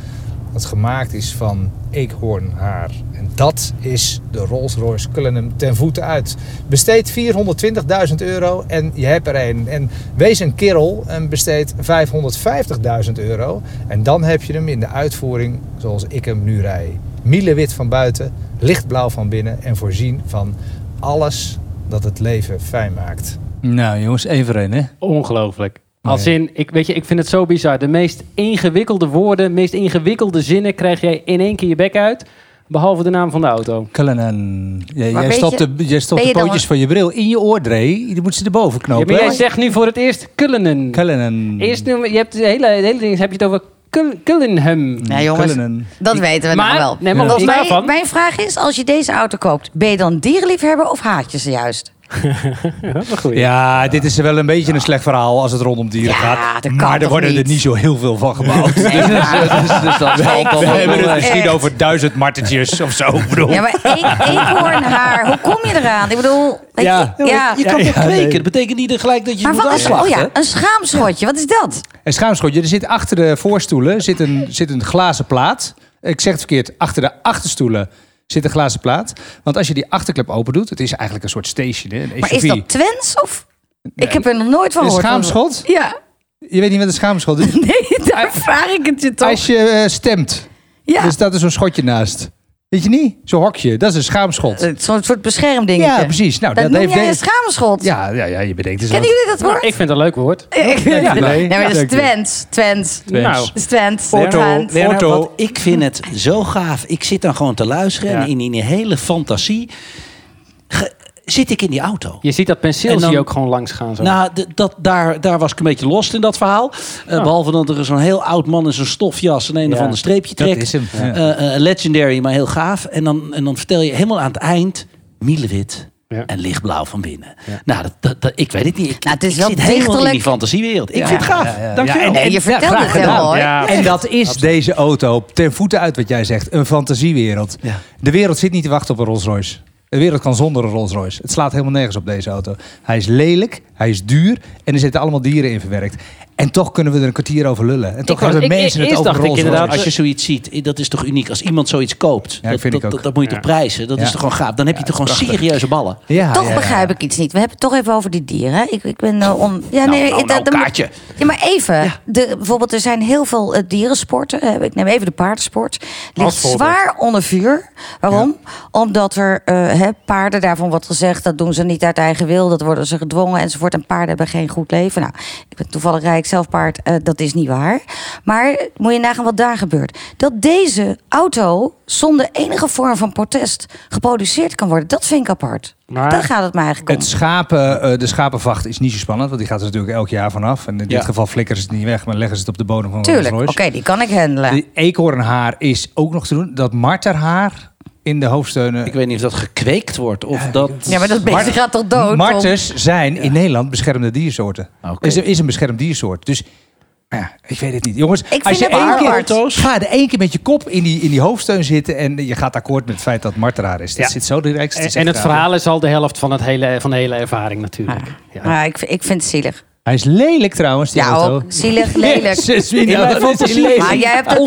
dat gemaakt is van eekhoornhaar. En dat is de Rolls-Royce Cullinan ten voeten uit. Besteed 420.000 euro en je hebt er een. En wees een kerel en besteed 550.000 euro. En dan heb je hem in de uitvoering zoals ik hem nu rij. Mielewit van buiten, lichtblauw van binnen en voorzien van alles dat het leven fijn maakt. Nou jongens, één voor één hè. Ongelooflijk. Als in, ik, weet je, ik vind het zo bizar. De meest ingewikkelde woorden, de meest ingewikkelde zinnen krijg jij in één keer je bek uit. Behalve de naam van de auto. Cullinan. Jij, Maar jij weet stopt je- de, jij stopt ben de je dan- pootjes van je bril in je oordree. Je moet ze erboven Ja, knopen. maar jij hè? zegt nu voor het eerst Nou, Cullinan. Cullinan. Eerst noemen, je hebt de hele, de hele ding, heb je het over Cull- Cullinham. Ja, jongens, Cullinan. dat weten we Maar- nou wel. nee, maar Want los mijn, daarvan- mijn vraag is, als je deze auto koopt... ben je dan dierenliefhebber of haat je ze juist? Ja, dit is wel een beetje een slecht verhaal als het rondom dieren Ja, dat gaat. kan maar er toch worden niet? er niet zo heel veel van gebouwd. dus, dus- dus dat valt dan we wel hebben het mee. misschien Echt. over duizend marteltjes of zo. ik Bedoel. Ja, maar eek- eekhoornhaar, hoe kom je eraan? Ik bedoel... weet Ja. je, ja. Je kan Ja, toch ja, kweken? nee. Dat betekent niet gelijk dat je Maar moet wat is... aanslachten. Oh ja, een schaamschotje, wat is dat? Een schaamschotje. Er zit achter de voorstoelen zit een, zit een glazen plaat. Ik zeg het verkeerd. Achter de achterstoelen zit een glazen plaat. Want als je die achterklep open doet, het is eigenlijk een soort station. Hè? Een Maar SUV. is dat Twents of... Ik heb er nog nooit van Een gehoord. schaamschot? Ja, Oh, Je weet niet wat een schaamschot is. nee, daar vraag ik het je toch. Als je eh, stemt, Ja, dan staat er zo'n schotje naast. Weet je niet? Zo'n hokje. Dat is een Eh, schaamschot. het is zo'n soort beschermdingetje. Ja, precies. Nou, Dat dat noem heeft jij een deze- schaamschot? Ja, ja, ja, je bedenkt dus Kennen wat. jullie dat woord? Ik vind het een leuk woord. Ja, Nee. maar dat Ja, is dank je. Twents. Twents. Twents. Nou, Dat is Twents. Leonard, Twents. Leonard, Auto. want ik vind het zo gaaf. Ik zit dan gewoon te luisteren en in die hele fantasie ge- zit ik in die auto. Je ziet dat penseel En dan- zie je ook gewoon langs gaan. Zo. Nou, d- dat, daar, daar was ik een beetje lost in dat verhaal. Eh, Behalve dat er zo'n heel oud man in zo'n stofjas een een of Ja, ander streepje dat trekt. is hem, ja. Eh, eh, legendary, maar heel gaaf. En dan, en dan vertel je helemaal aan het eind... Mielewit Ja. en lichtblauw van binnen. Nou, dat, dat, dat- ik weet het niet. Ik, Nou, het is ik wel zit helemaal in dichtelijk. die fantasiewereld. Ik vind het gaaf. Ja, ja, ja. Dank je Ja, wel. en- en- je ja, vertelt graag het heel gedaan. mooi. Ja. En dat is deze auto ten voeten uit wat jij zegt. Een fantasiewereld. Ja. De wereld zit niet te wachten op een Rolls Royce. De wereld kan zonder een Rolls Royce. Het slaat helemaal nergens op deze auto. Hij is lelijk, hij is duur en er zitten allemaal dieren in verwerkt. En toch kunnen we er een kwartier over lullen. En toch wou- hebben ik- ik- mensen het eerst over dacht ik Rolls inderdaad, Royce. Als je zoiets ziet, dat is toch uniek. Als iemand zoiets koopt, Ja, dat, vind ik dat, ook. dat, dat moet je toch prijzen. Dat Ja. is toch gewoon gaaf. Dan heb je toch gewoon serieuze ballen. Ja, Toch ja, ja. begrijp ik iets niet. We hebben het toch even over die dieren. hè? Ik, ik ben eh, on... Ja, nee, nou, ik- dat- nou, dat moet- Kaatje. Ja, maar even. De, bijvoorbeeld, er zijn heel veel eh, dierensporten. Eh, ik neem even de paardensport. Ligt zwaar onder vuur. Waarom? Omdat er eh, hè, paarden, daarvan wordt gezegd... dat doen ze niet uit eigen wil. Dat worden ze gedwongen enzovoort. En paarden hebben geen goed leven. Nou, ik ben toevallig rijk zelf paard. eh, dat is niet waar. Maar moet je nagaan wat daar gebeurt. Dat deze auto zonder enige vorm van protest geproduceerd kan worden... dat vind ik apart. Maar- Daar gaat het mij eigenlijk om. Het schapen, eh, de schapenvacht is niet zo spannend, want die gaat er natuurlijk elk jaar vanaf. En in dit Ja. geval flikkeren ze het niet weg, maar leggen ze het op de bodem van een Rolls Tuurlijk, Royce. oké, die kan ik handelen. De eekhoornhaar is ook nog te doen. Dat marterhaar in de hoofdsteunen. Ik weet niet of dat gekweekt wordt of dat... ja, maar dat beest Mart- gaat toch dood? Martens zijn in Nederland beschermde diersoorten. Oké. Is, is een beschermd diersoort. Dus ja, ik weet het niet. Jongens, vind als je het wel één keer, apart. ga er één keer met je kop in die, in die hoofdsteun zitten... en je gaat akkoord met het feit dat marteraar is. Dat Ja. zit zo direct. Dat en, is en echt het raar. verhaal is al de helft van, het hele, van de hele ervaring natuurlijk. Ja. Ja. Maar ik, ik vind het zielig. Hij is lelijk trouwens, die Ja, auto. ook. Zielig, lelijk. Jezus, Mina, mijn wat is die fantasie lelijk. Maar jij hebt het wel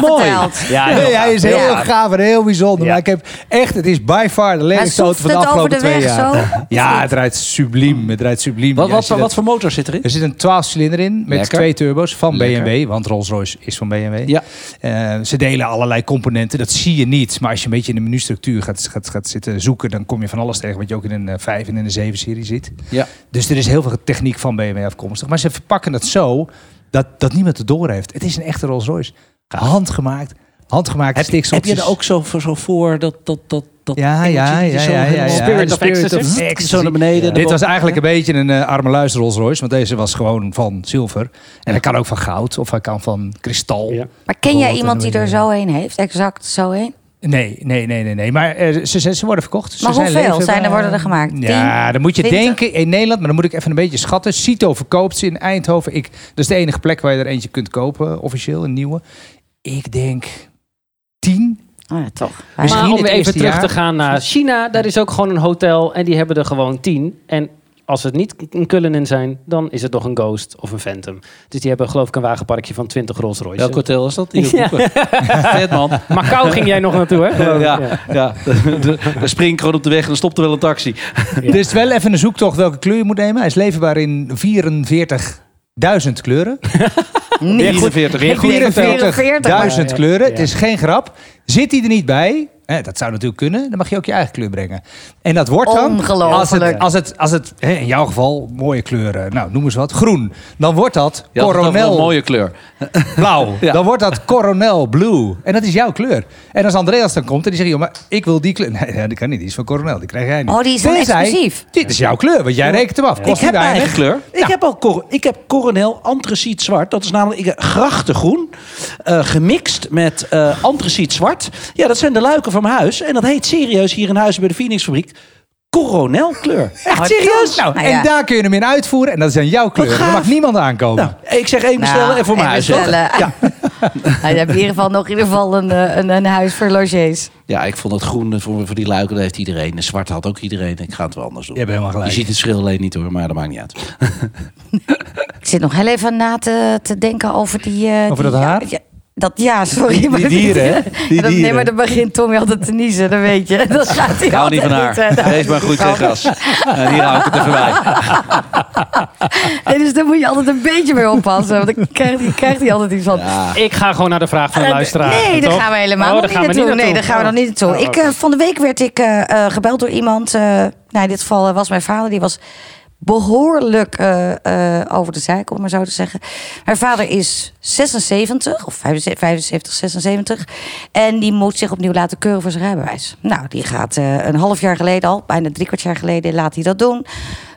mooi, mooi. verteld. Ja, nee, heel hij is gaaf. heel Ja. gaaf en heel bijzonder. Maar ik heb echt, het is by far de Hij lelijkste auto soft van de het over afgelopen de twee weg jaar. zo. Ja, het rijdt subliem. Het rijdt subliem. Wat, Ja, wat, als je wat, dat- voor motor zit erin? Er zit een 12-cilinder in met Lekker. twee turbos van Lekker. BMW, want Rolls-Royce is van BMW. Ja. Eh, ze delen allerlei componenten, dat zie je niet. Maar als je een beetje in de menustructuur gaat, gaat, gaat zitten zoeken, dan kom je van alles tegen wat je ook in een eh, 5 en in een 7-serie ziet. Ja. Dus er is heel veel techniek van BMW afkomstig. Maar ze verpakken dat zo dat, dat niemand het door heeft. Het is een echte Rolls-Royce. Handgemaakt, handgemaakt Heb, stikseltjes. heb je er ook zo voor, zo voor dat... dat, dat, dat Ja, ja, engeltje die eh, ja, zo ja, ja, helemaal- ja. Spirit De of Ecstasy. Zo naar beneden. Dit was eigenlijk een beetje een eh, arme luister Rolls Royce. Want deze was gewoon van zilver. En hij kan ook van goud. Of hij kan van kristal. Ja. Maar ken jij Goed, iemand die en er dan- zo heen heeft? Exact zo heen? Nee, nee, nee, nee, nee. Maar eh, ze, ze, ze worden verkocht. Ze Maar zijn hoeveel leefbaar. zijn er worden er gemaakt? Ja, Tien? dan moet je 20? denken in Nederland, maar dan moet ik even een beetje schatten. Cito verkoopt ze in Eindhoven. Ik, dat is de enige plek waar je er eentje kunt kopen, officieel, een nieuwe. Ik denk tien. Oh ja, toch. Misschien Maar om het weer even eerste terug jaar. te gaan naar China, daar is ook gewoon een hotel en die hebben er gewoon tien. En als het niet een Cullinan zijn, dan is het nog een Ghost of een Phantom. Dus die hebben geloof ik een wagenparkje van 20 Rolls Royce. Welk hotel is dat? Hier op Hoeken. Vet man. Macau ging jij nog naartoe, hè? Ja, geloof ik? ja. daar spring ik gewoon op de weg en dan stopt er wel een taxi. Dus het is wel even een zoektocht welke kleur je moet nemen. Hij is leverbaar in 44.000 kleuren. Weer goed. 44. Weer goed. 44.000 Ja, kleuren. ja. Het is geen grap. Zit hij er niet bij? Hè, dat zou natuurlijk kunnen. Dan mag je ook je eigen kleur brengen. En dat wordt dan... Als het, Ongelooflijk. als het, als het hè, in jouw geval, mooie kleuren. Nou, noem eens wat. Groen. Dan wordt dat Ja, dat is wel coronel een mooie kleur. blauw. Ja. Dan wordt dat coronel blue. En dat is jouw kleur. En als Andreas dan komt en die zegt... Joh, maar ik wil die kleur. Nee, ja, die kan niet. Die is van coronel. Die krijg jij niet. Oh, die is dan Tenzij, exclusief. Dit is jouw kleur, want jij rekent hem af. Ik Kost heb niet mijn weinig. Nou, eigen kleur. Ik heb ook cor- ik heb coronel antraciet zwart. Dat is namelijk ik, heb grachtengroen. eh, gemixt met eh antraciet zwart. Ja, dat zijn de luiken van mijn huis. En dat heet serieus hier in huis bij de Phoenixfabriek. Coronel kleur. Echt serieus? Nou, Nou ja. En daar kun je hem in uitvoeren. En dat zijn jouw kleuren. Daar gaaf. mag niemand aankomen. nou, ik zeg één bestellen en voor mijn huis. hè. Ja. Nou, je hebt in ieder geval nog in ieder geval een, eh, een, een huis voor logies. Ja, ik vond het groen eh, voor, voor die luiken, dat heeft iedereen. En zwart had ook iedereen. Ik ga het wel anders doen. Je hebt helemaal gelijk. Je ziet het verschil alleen niet hoor, maar dat maakt niet uit. Ik zit nog heel even na te, te denken over die... eh, Over die- dat haar? Ja, dat, ja, sorry. maar die dieren, hè? Die Ja, dat- Nee, dieren. maar dan begint Tommy altijd te niezen, dat weet je. Dat gaat hij Ik hou niet eh, van haar. Wees maar goed tegen gas. En hier hou ik het even bij. Nee, dus daar moet je altijd een beetje mee oppassen. Want dan krijgt hij- krijgt hij altijd iets van... Ik ga gewoon naar de vraag van de Eh, luisteraar. Nee, daar toch? gaan we helemaal Oh, nog daar niet gaan we naartoe. Nee, daar gaan we Oh. nog niet naartoe. Oh, Ik, eh, van de week werd ik eh, eh, gebeld door iemand. eh, nou, in dit geval eh, was mijn vader. Die was behoorlijk eh, eh, over de zijk, om maar zo te zeggen. Haar vader is 76, of 75, 76. En die moet zich opnieuw laten keuren voor zijn rijbewijs. Nou, die gaat eh, een half jaar geleden al, bijna drie kwart jaar geleden, laat hij dat doen.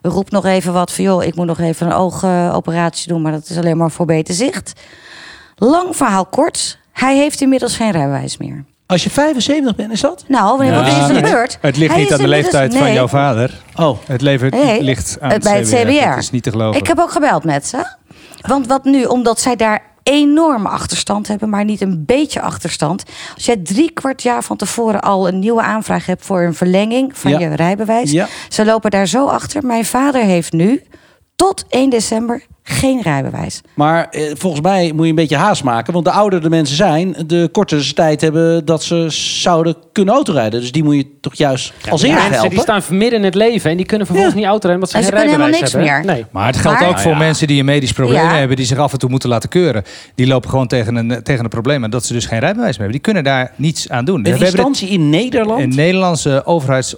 Roept nog even wat van, joh, ik moet nog even een oogoperatie doen... maar dat is alleen maar voor beter zicht. Lang verhaal kort. Hij heeft inmiddels geen rijbewijs meer. Als je 75 bent, is dat? Nou, wanneer wat is Ja, er het- gebeurd? Het ligt Hij niet is aan de inmiddels- leeftijd van nee. jouw vader. Oh, Het levert, Nee, eh, ligt aan bij het CBR. Dat is niet te geloven. Ik heb ook gebeld met ze. Want wat nu, omdat zij daar enorme achterstand hebben, maar niet een beetje achterstand. Als jij drie kwart jaar van tevoren al een nieuwe aanvraag hebt voor een verlenging van Ja. je rijbewijs. Ja. Ze lopen daar zo achter. Mijn vader heeft nu tot 1 december geen rijbewijs. maar eh, volgens mij moet je een beetje haast maken. Want de ouder de mensen zijn, de kortere ze tijd hebben dat ze zouden kunnen autorijden. Dus die moet je toch juist als eerste Mensen die helpen. staan midden in het leven en die kunnen vervolgens Ja. niet autorijden, want ze En geen ze kunnen helemaal rijbewijs niks hebben. meer. Nee. Maar het geldt Maar- ook voor Nou ja. mensen die een medisch probleem Ja. hebben, die zich af en toe moeten laten keuren. Die lopen gewoon tegen een, eh, tegen een probleem en dat ze dus geen rijbewijs meer hebben. Die kunnen daar niets aan doen. Een We hebben dit- instantie in Nederland? een Nederlandse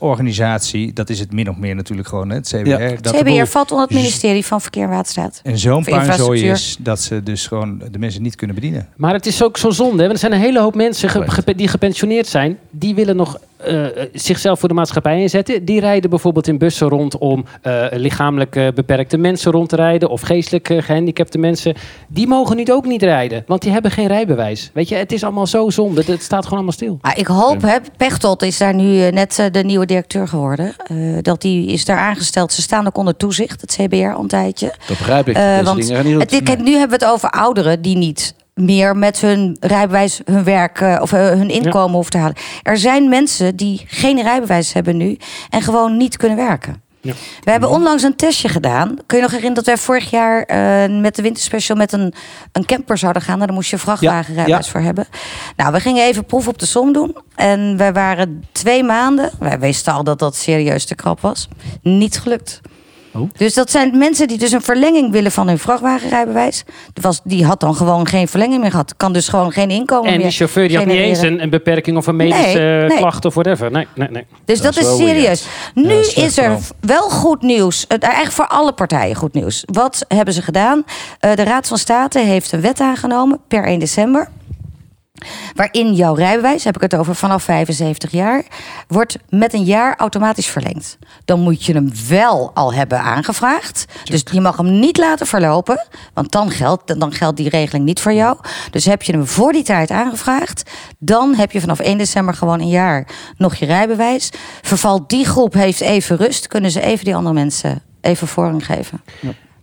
overheidsorganisatie, dat is het min of meer natuurlijk gewoon, hè, het CBR. Ja. dat de CBR boel valt onder het ministerie van Verkeer en Waterstaat. En zo'n Of puinzooi infrastructuur. is dat ze dus gewoon de mensen niet kunnen bedienen. Maar het is ook zo zonde. Hè? Want er zijn een hele hoop mensen ge- ge- die gepensioneerd zijn. Die willen nog eh, zichzelf voor de maatschappij inzetten. Die rijden bijvoorbeeld in bussen rond om eh, lichamelijk eh, beperkte mensen rond te rijden. Of geestelijk eh, gehandicapte mensen. Die mogen nu ook niet rijden. Want die hebben geen rijbewijs. Weet je, het is allemaal zo zonde. Het staat gewoon allemaal stil. Maar ik hoop, hè, Pechtold is daar nu eh, net eh, de nieuwe directeur geworden. Eh, dat die is daar aangesteld. Ze staan ook onder toezicht, het CBR, al een tijdje. Dat begrijp ik. Eh, Deze want dingen gaan niet het, goed. kijk, nu hebben we het over ouderen die niet meer met hun rijbewijs hun werk eh, of eh, hun inkomen hoeven te halen. Er zijn mensen die geen rijbewijs hebben nu en gewoon niet kunnen werken. We hebben onlangs een testje gedaan. Kun je nog herinneren dat wij vorig jaar eh, met de winterspecial met een, een camper zouden gaan? Nou, daar moest je een vrachtwagenrijbewijs ja. voor hebben. Nou, we gingen even proef op de som doen. En wij waren twee maanden, wij wisten al dat dat serieus te krap was, niet gelukt. Dus dat zijn mensen die dus een verlenging willen van hun vrachtwagenrijbewijs. Er Was, die had dan gewoon geen verlenging meer gehad. Kan dus gewoon geen inkomen En meer die chauffeur die had niet eens genereren. een, een beperking of een medische Nee, eh, nee. klacht of whatever. Nee, nee, nee. Dus dat, is, serieus. Nu slecht is er verhaal. wel goed nieuws. Het- Eigenlijk voor alle partijen goed nieuws. Wat hebben ze gedaan? Eh, de Raad van State heeft een wet aangenomen per 1 december. Waarin jouw rijbewijs, heb ik het over vanaf 75 jaar, wordt met een jaar automatisch verlengd. Dan moet je hem wel al hebben aangevraagd. Dus je mag hem niet laten verlopen, want dan geldt, dan geldt die regeling niet voor jou. Dus heb je hem voor die tijd aangevraagd, dan heb je vanaf 1 december gewoon een jaar nog je rijbewijs. Vervalt die groep, heeft even rust, kunnen ze even die andere mensen even voorrang geven.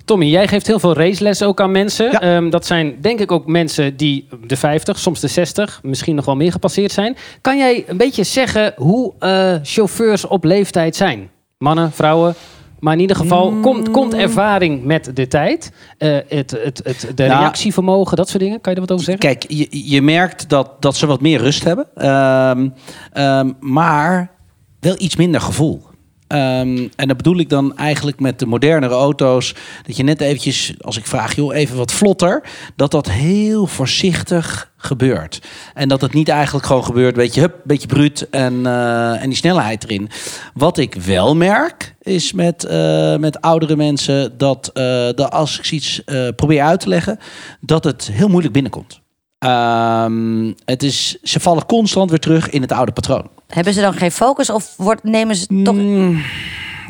Tommy, jij geeft heel veel racelessen ook aan mensen. Ja. Ehm, dat zijn denk ik ook mensen die de 50, soms de 60, misschien nog wel meer gepasseerd zijn. Kan jij een beetje zeggen hoe eh, chauffeurs op leeftijd zijn? Mannen, vrouwen. Maar in ieder geval Mm. komt, komt ervaring met de tijd. Eh, het, het, het, de Nou, reactievermogen, dat soort dingen. Kan je er wat over zeggen? Kijk, je, je merkt dat, dat ze wat meer rust hebben. Ehm, ehm, maar wel iets minder gevoel. Ehm, en dat bedoel ik dan eigenlijk met de modernere auto's. Dat je net eventjes, als ik vraag, joh, even wat vlotter. Dat dat heel voorzichtig gebeurt. En dat het niet eigenlijk gewoon gebeurt, weet je, hup, beetje bruut en, eh, en die snelheid erin. Wat ik wel merk, is met, eh, met oudere mensen dat, eh, dat als ik iets eh, probeer uit te leggen, dat het heel moeilijk binnenkomt. Ehm, het is, ze vallen constant weer terug in het oude patroon. Hebben ze dan geen focus of wordt, nemen ze toch... Mm,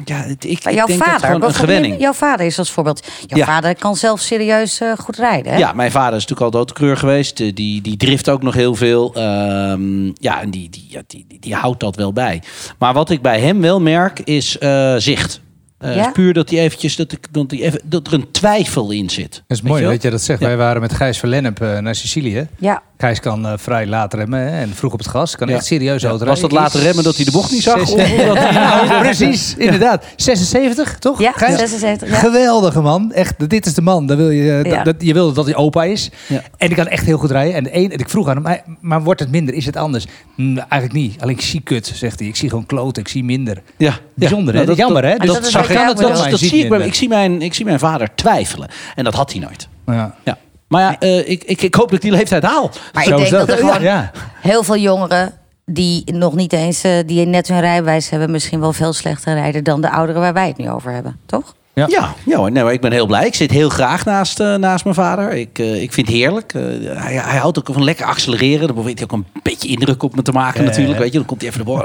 ja, het- ik, Maar ik jouw denk dat vader, het gewoon een bijvoorbeeld, gewenning. jouw vader is als voorbeeld. Jouw Ja. vader kan zelf serieus eh, goed rijden. Hè? Ja, mijn vader is natuurlijk al doodkreur geweest. Eh, Die, die drift ook nog heel veel. Ehm, ja, en die, die, ja, die, die, die houdt dat wel bij. Maar wat ik bij hem wel merk is eh, zicht. Eh, Ja? is puur dat, hij eventjes, dat, ik, dat, die even, dat er een twijfel in zit. Dat is Weet mooi je wel? dat je dat zegt. Ja. Wij waren met Gijs van Lennep eh, naar Sicilië. Ja. Gijs kan eh, vrij laat remmen hè, en vroeg op het gas. Kan Ja. echt serieus Ja, auto was dat rijden. later remmen dat hij de bocht niet zag? Zes- Of dat hij- Ja, precies, inderdaad. 76, toch? Ja, Gijs? 76, ja. Geweldige man. Echt, dit is de man. Dan wil je, eh, dat- Ja. dat, je wilde dat hij opa is. Ja. En die kan echt heel goed rijden. En, de een, en ik vroeg aan hem, maar- maar wordt het minder? Is het anders? Hm, eigenlijk niet. Alleen ik zie kut, zegt hij. Ik zie gewoon kloten. Ik zie minder. Ja, Bijzonder, hè? Nou, Dat is jammer, hè? Dat, Dus dat is zag wat ik, jij dat, bedoelt. dat- dat Ziet zie ik, bij, minder. ik, zie mijn, ik zie mijn vader twijfelen. En dat had hij nooit. Ja. Ja. Maar ja, eh, ik, ik, ik hoop dat ik die leeftijd haal. Maar Zo ik denk is dat, er Ja, gewoon ja. heel veel jongeren die nog niet eens, eh, die net hun rijbewijs hebben, misschien wel veel slechter rijden dan de ouderen waar wij het nu over hebben, toch? Ja. Ja, ja, hoor. nee, maar ik ben heel blij. Ik zit heel graag naast, eh, naast mijn vader. Ik, eh, ik vind het heerlijk. Eh, hij, hij houdt ook van lekker accelereren. Daar probeert hij ook een beetje indruk op me te maken natuurlijk. Weet je, dan komt hij even de boord.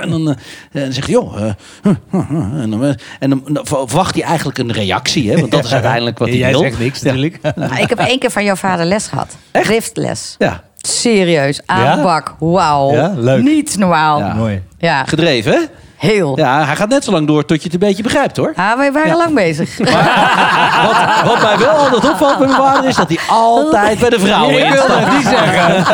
En dan, eh, en dan zegt hij, joh. eh, huh, huh, huh. en dan, eh, en dan, dan verwacht hij eigenlijk een reactie. Hè, want dat is uiteindelijk wat hij Jij wil. zegt niks, natuurlijk. Nou, ik heb één keer van jouw vader les gehad. Driftles. Ja, Serieus, aanbak. Wauw. Ja, leuk. Niet normaal. Ja. Ja, Mooi. gedreven hè? heel. Ja, hij gaat net zo lang door tot je het een beetje begrijpt hoor. Ah, wij waren lang bezig. Wat, wat mij wel altijd opvalt bij mijn vader is dat hij altijd bij de vrouwen is. niet zeggen.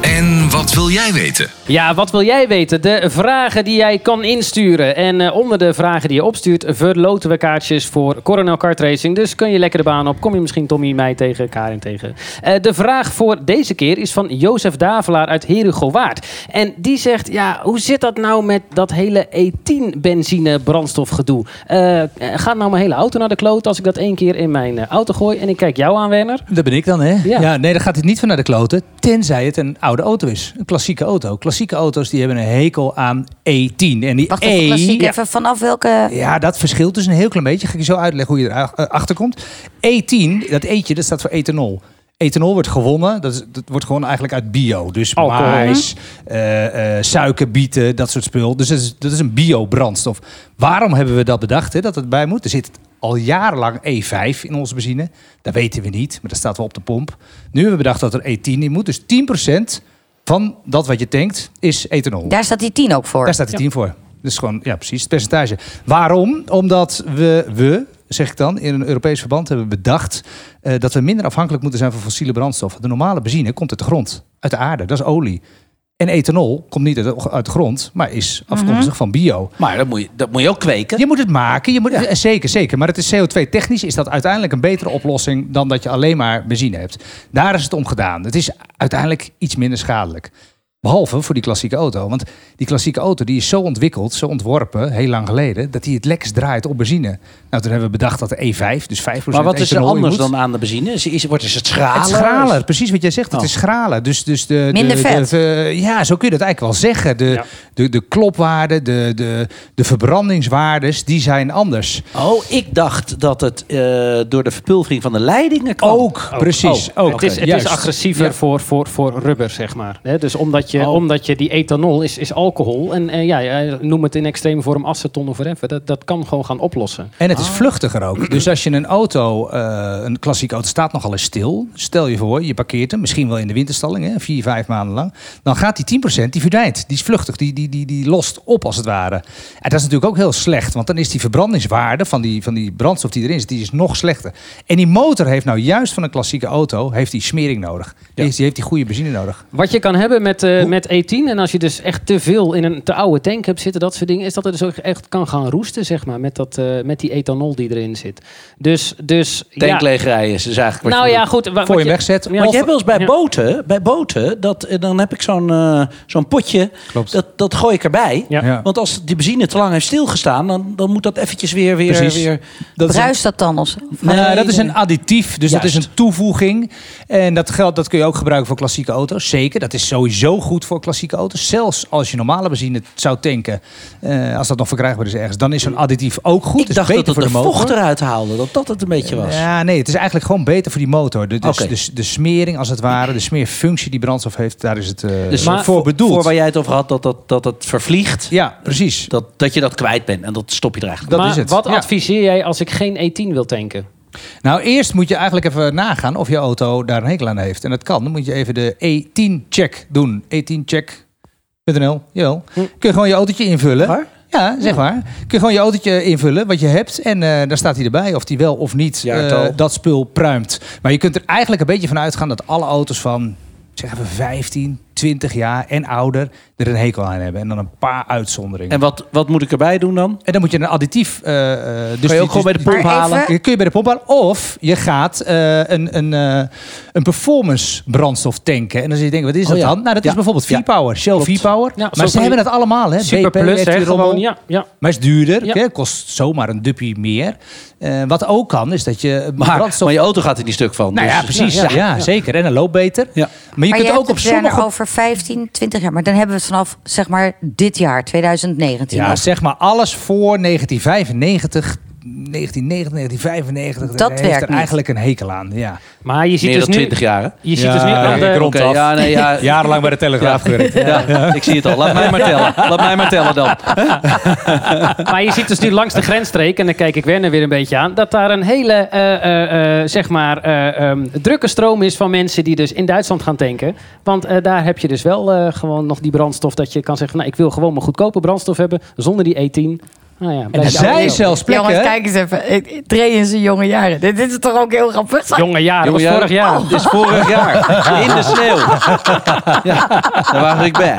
En wat wil jij weten? Ja, wat wil jij weten? De vragen die jij kan insturen. En eh, onder de vragen die je opstuurt, verloten we kaartjes voor Coronel Kart Racing. Dus kun je lekker de baan op. Kom je misschien Tommy, mij tegen, Karin tegen. Eh, de vraag voor deze keer is van Jozef Davelaar uit Herugowaard. En die zegt, ja, hoe zit dat nou met dat hele E10 benzine brandstofgedoe? Eh, eh, gaat nou mijn hele auto naar de kloot als ik dat één keer in mijn eh, auto gooi? En ik kijk jou aan, Werner. Dat ben ik dan, hè? Ja. Ja. nee, dan gaat het niet van naar de kloten. Tenzij het een oude auto is. Een klassieke auto. Klassieke auto's die hebben een hekel aan E10. En die Wacht E... even, klassiek, ja. even vanaf welke... Ja, dat verschilt dus een heel klein beetje. Ga ik je zo uitleggen hoe je erachter komt. E10, dat eetje, dat staat voor ethanol. Ethanol wordt gewonnen, dat, is, dat wordt gewoon eigenlijk uit bio. Dus Alcohol. mais, eh, eh, suikerbieten, dat soort spul. Dus dat is, dat is een bio-brandstof. Waarom hebben we dat bedacht, hè, dat het bij moet? Er zit al jarenlang E5 in onze benzine. Dat weten we niet, maar dat staat wel op de pomp. Nu hebben we bedacht dat er E10 in moet. Dus 10% van dat wat je tankt is ethanol. Daar staat die 10 ook voor. Daar staat die 10 voor. Dus gewoon, ja, precies, het percentage. Waarom? Omdat we, we, zeg ik dan, in een Europees verband hebben bedacht eh, dat we minder afhankelijk moeten zijn van fossiele brandstoffen. De normale benzine komt uit de grond, uit de aarde, dat is olie. En ethanol komt niet uit de, uit de grond, maar is afkomstig van bio. Maar dat moet je, dat moet je ook kweken. Je moet het maken, je moet, eh, zeker, zeker. Maar het is CO2-technisch is dat uiteindelijk een betere oplossing dan dat je alleen maar benzine hebt. Daar is het om gedaan. Het is uiteindelijk iets minder schadelijk. Behalve voor die klassieke auto. Want die klassieke auto die is zo ontwikkeld, zo ontworpen, heel lang geleden, dat hij het lekkerst draait op benzine. Nou, toen hebben we bedacht dat de E5, dus 5% Maar wat is er ethanol in anders moet. dan aan de benzine? Is, is, wordt, is het schraler? Het is schraler, precies wat jij zegt. Het Oh. is schraler. Dus, dus de, de- Minder de- vet. de- ja, zo kun je dat eigenlijk wel zeggen. De, Ja. de, de klopwaarden, de, de, de verbrandingswaardes, die zijn anders. Oh, ik dacht dat het eh, door de verpulvering van de leidingen kwam. Ook, precies. Oh, ook, het is, het is juist. agressiever voor, voor, voor rubber, zeg maar. Hè, dus omdat je, Oh. omdat je die ethanol is, is alcohol. En, eh, ja, ja, noem het in extreme vorm aceton of whatever. Dat, dat kan gewoon gaan oplossen. En het is vluchtiger ook. Dus als je een auto, eh, een klassieke auto, staat nogal eens stil. Stel je voor, je parkeert hem, misschien wel in de winterstalling, hè, vier, vijf maanden lang. Dan gaat die 10% die verdwijnt. Die is vluchtig, die, die, die, die lost op als het ware. En dat is natuurlijk ook heel slecht, want dan is die verbrandingswaarde van die, van die brandstof die erin zit, die is nog slechter. En die motor heeft nou juist van een klassieke auto, heeft die smering nodig. Die, heeft- die heeft die goede benzine nodig. Wat je kan hebben met, eh, met E10, en als je dus echt te veel in een te oude tank hebt zitten, dat soort dingen, is dat het dus ook echt kan gaan roesten, zeg maar, met, dat, eh, met die ethanol die erin zit. Dus, dus Tank ja. leegrijden is dus eigenlijk wat Nou je ja, doet. goed. wa- Voor wat je wegzet. ja, Want of- je hebt wel eens bij ja. boten, bij boten dat, eh, dan heb ik zo'n eh, zo'n potje, Klopt. dat, dat gooi ik erbij. Ja. Ja. Want als die benzine te lang heeft stilgestaan, dan, dan moet dat eventjes weer... weer, Precies. weer Dat is een- Bruist dat dan of zo? Nee, Nee, dat is nee. een additief. Dus dat is Juist. een toevoeging. En dat geld dat kun je ook gebruiken voor klassieke auto's. Zeker, dat is sowieso goed voor klassieke auto's. Zelfs als je normale benzine zou tanken, eh, als dat nog verkrijgbaar is ergens, dan is zo'n additief ook goed. ik Dus dacht beter dat het voor de de motor. vocht eruit haalde, dat dat het een beetje was. Ja, nee, het is eigenlijk gewoon beter voor die motor. De, dus, Oké. dus de smering als het ware, de smeerfunctie die brandstof heeft, daar is het eh, Dus Maar- voor bedoeld. Voor waar jij het over had, dat dat, dat, het vervliegt, Ja, precies. dat, dat je dat kwijt bent. En dat stop je er eigenlijk. Dat maar is het. wat Ja. adviseer jij als ik geen E10 wil tanken? Nou, eerst moet je eigenlijk even nagaan of je auto daar een hekel aan heeft. En dat kan. Dan moet je even de E10-check doen. E10check.nl, jawel. Kun je gewoon je autootje invullen. Hm. Waar? Ja, zeg maar. Kun je gewoon je autootje invullen, wat je hebt. En eh daar staat hij erbij of die wel of niet eh, Jaartal. dat spul pruimt. Maar je kunt er eigenlijk een beetje van uitgaan dat alle auto's van... Zeg even 15, 20 jaar en ouder er een hekel aan hebben. En dan een paar uitzonderingen. En En, wat, wat moet ik erbij doen dan? dan moet je een additief... eh, eh, dus Kan die- je ook gewoon bij dus- de pomp Maar halen? even- je kun je bij de pomp halen. Of je gaat eh, een, een, eh, een performance brandstof tanken. En dan zul je denken, wat is Oh dat ja. dan? Nou, dat Ja. is bijvoorbeeld Ja. V-Power. Shell Klopt. V-Power. Ja, zo maar ze kan je- hebben het allemaal, hè? Super BP, plus, hè, Red Rommel. gewoon, ja, ja. Maar is duurder. Ja. Hè? Kost zomaar een duppie meer. Eh, wat ook kan, is dat je Maar, brandstof... maar je auto gaat er niet stuk van. nou dus- ja, precies. Ja, Ja, ja. zeker. En een loopt beter. Ja. Maar je maar kunt je ook op hebt het sommige... sommige... over 15, 20 jaar. Maar dan hebben we het vanaf zeg maar dit jaar, 2019. Ja, over. zeg maar alles voor 1995... 1990, 1995, Dat heeft werkt er niet. eigenlijk een hekel aan. Ja. Maar je ziet Meer dus dan nu... 20 jaar. hè? Je ziet Ja, dus nu aan de- ik rond Oké, af. ja, nee, ja, Jarenlang bij de Telegraaf gewerkt. Ja, ik zie het al. Laat mij maar tellen. Laat mij maar tellen dan. Maar je ziet dus nu langs de grensstreek, en dan kijk ik Werner weer een beetje aan, dat daar een hele eh, eh, eh, zeg maar, eh, ehm, drukke stroom is van mensen die dus in Duitsland gaan tanken. Want eh, daar heb je dus wel eh, gewoon nog die brandstof dat je kan zeggen, nou ik wil gewoon mijn goedkope brandstof hebben zonder die E10. Nou ja, En er blijf je zijn allemaal- zelfs plekken. Jongens, kijk eens even. Train in zijn jonge jaren. Dit, dit is toch ook heel grappig? Zag- Jonge jaren, dat was Jongen, vorig jaar. Oh. Het is vorig jaar. In de sneeuw. Ja, daar was ik bij.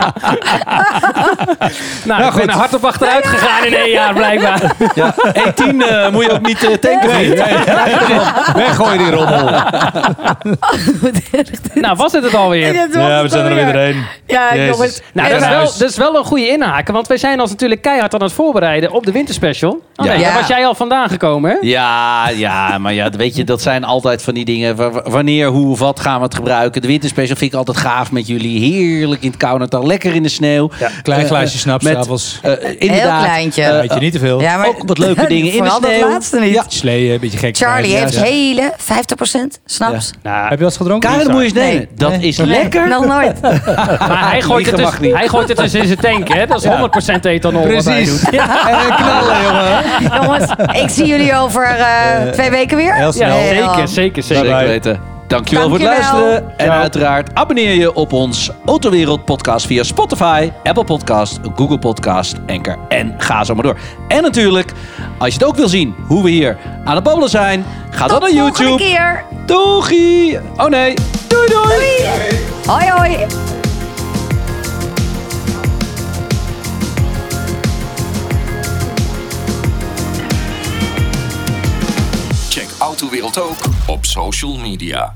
Nou, ik ben er hard op achteruit gegaan in één jaar blijkbaar. Ja, 18 eh, moet je ook niet eh, tanken. vriend. Weggooi die rommel. nou, was het het alweer? Dit was het alweer. Ja, jongens. Nou, dat is, En- wel, dat is wel een goede inhaken, want wij zijn ons natuurlijk keihard aan het voorbereiden op de winterspecial. Oh nee, Ja. daar was jij al vandaan gekomen, hè? Ja, ja, maar ja, weet je, dat zijn altijd van die dingen. Wa- wa- Wanneer, hoe, wat gaan we het gebruiken? De winterspecial vind ik altijd gaaf met jullie. Heerlijk in het koude dan lekker in de sneeuw. klein Eh, glaasje eh, snaps, met, s'avonds. eh, inderdaad. Heel kleintje. eh, Weet je niet te veel. Ja, maar- ook wat leuke dingen in de Vooral dat sneeuw. laatste niet. Ja. Sleeën, een beetje gek. Charlie Ja, heeft ja. hele 50% snaps. Heb je wel eens gedronken? Karen moet je eens nemen. Nee. Dat is Nou, lekker. Nog nooit. Maar hij gooit, Liegen het dus, mag niet. hij gooit het dus in zijn tank, hè? Dat is 100% ethanol wat hij Precies. doet. En Eh, een knallen, jongen. Jongens, ik zie jullie over eh, twee weken weer. heel Ja, snel. Nee, dan. zeker, zeker, zeker. Zeker weten. Dankjewel, voor het Dankjewel. luisteren. En uiteraard abonneer je op ons Autowereld podcast via Spotify, Apple Podcast, Google Podcast, Anchor en ga zo maar door. En natuurlijk, als je het ook wil zien hoe we hier aan het babbelen zijn, ga dan naar Volgende YouTube. keer. Doegie! Oh nee, doei doei! Hoi hoi. Check Autowereld ook op social media.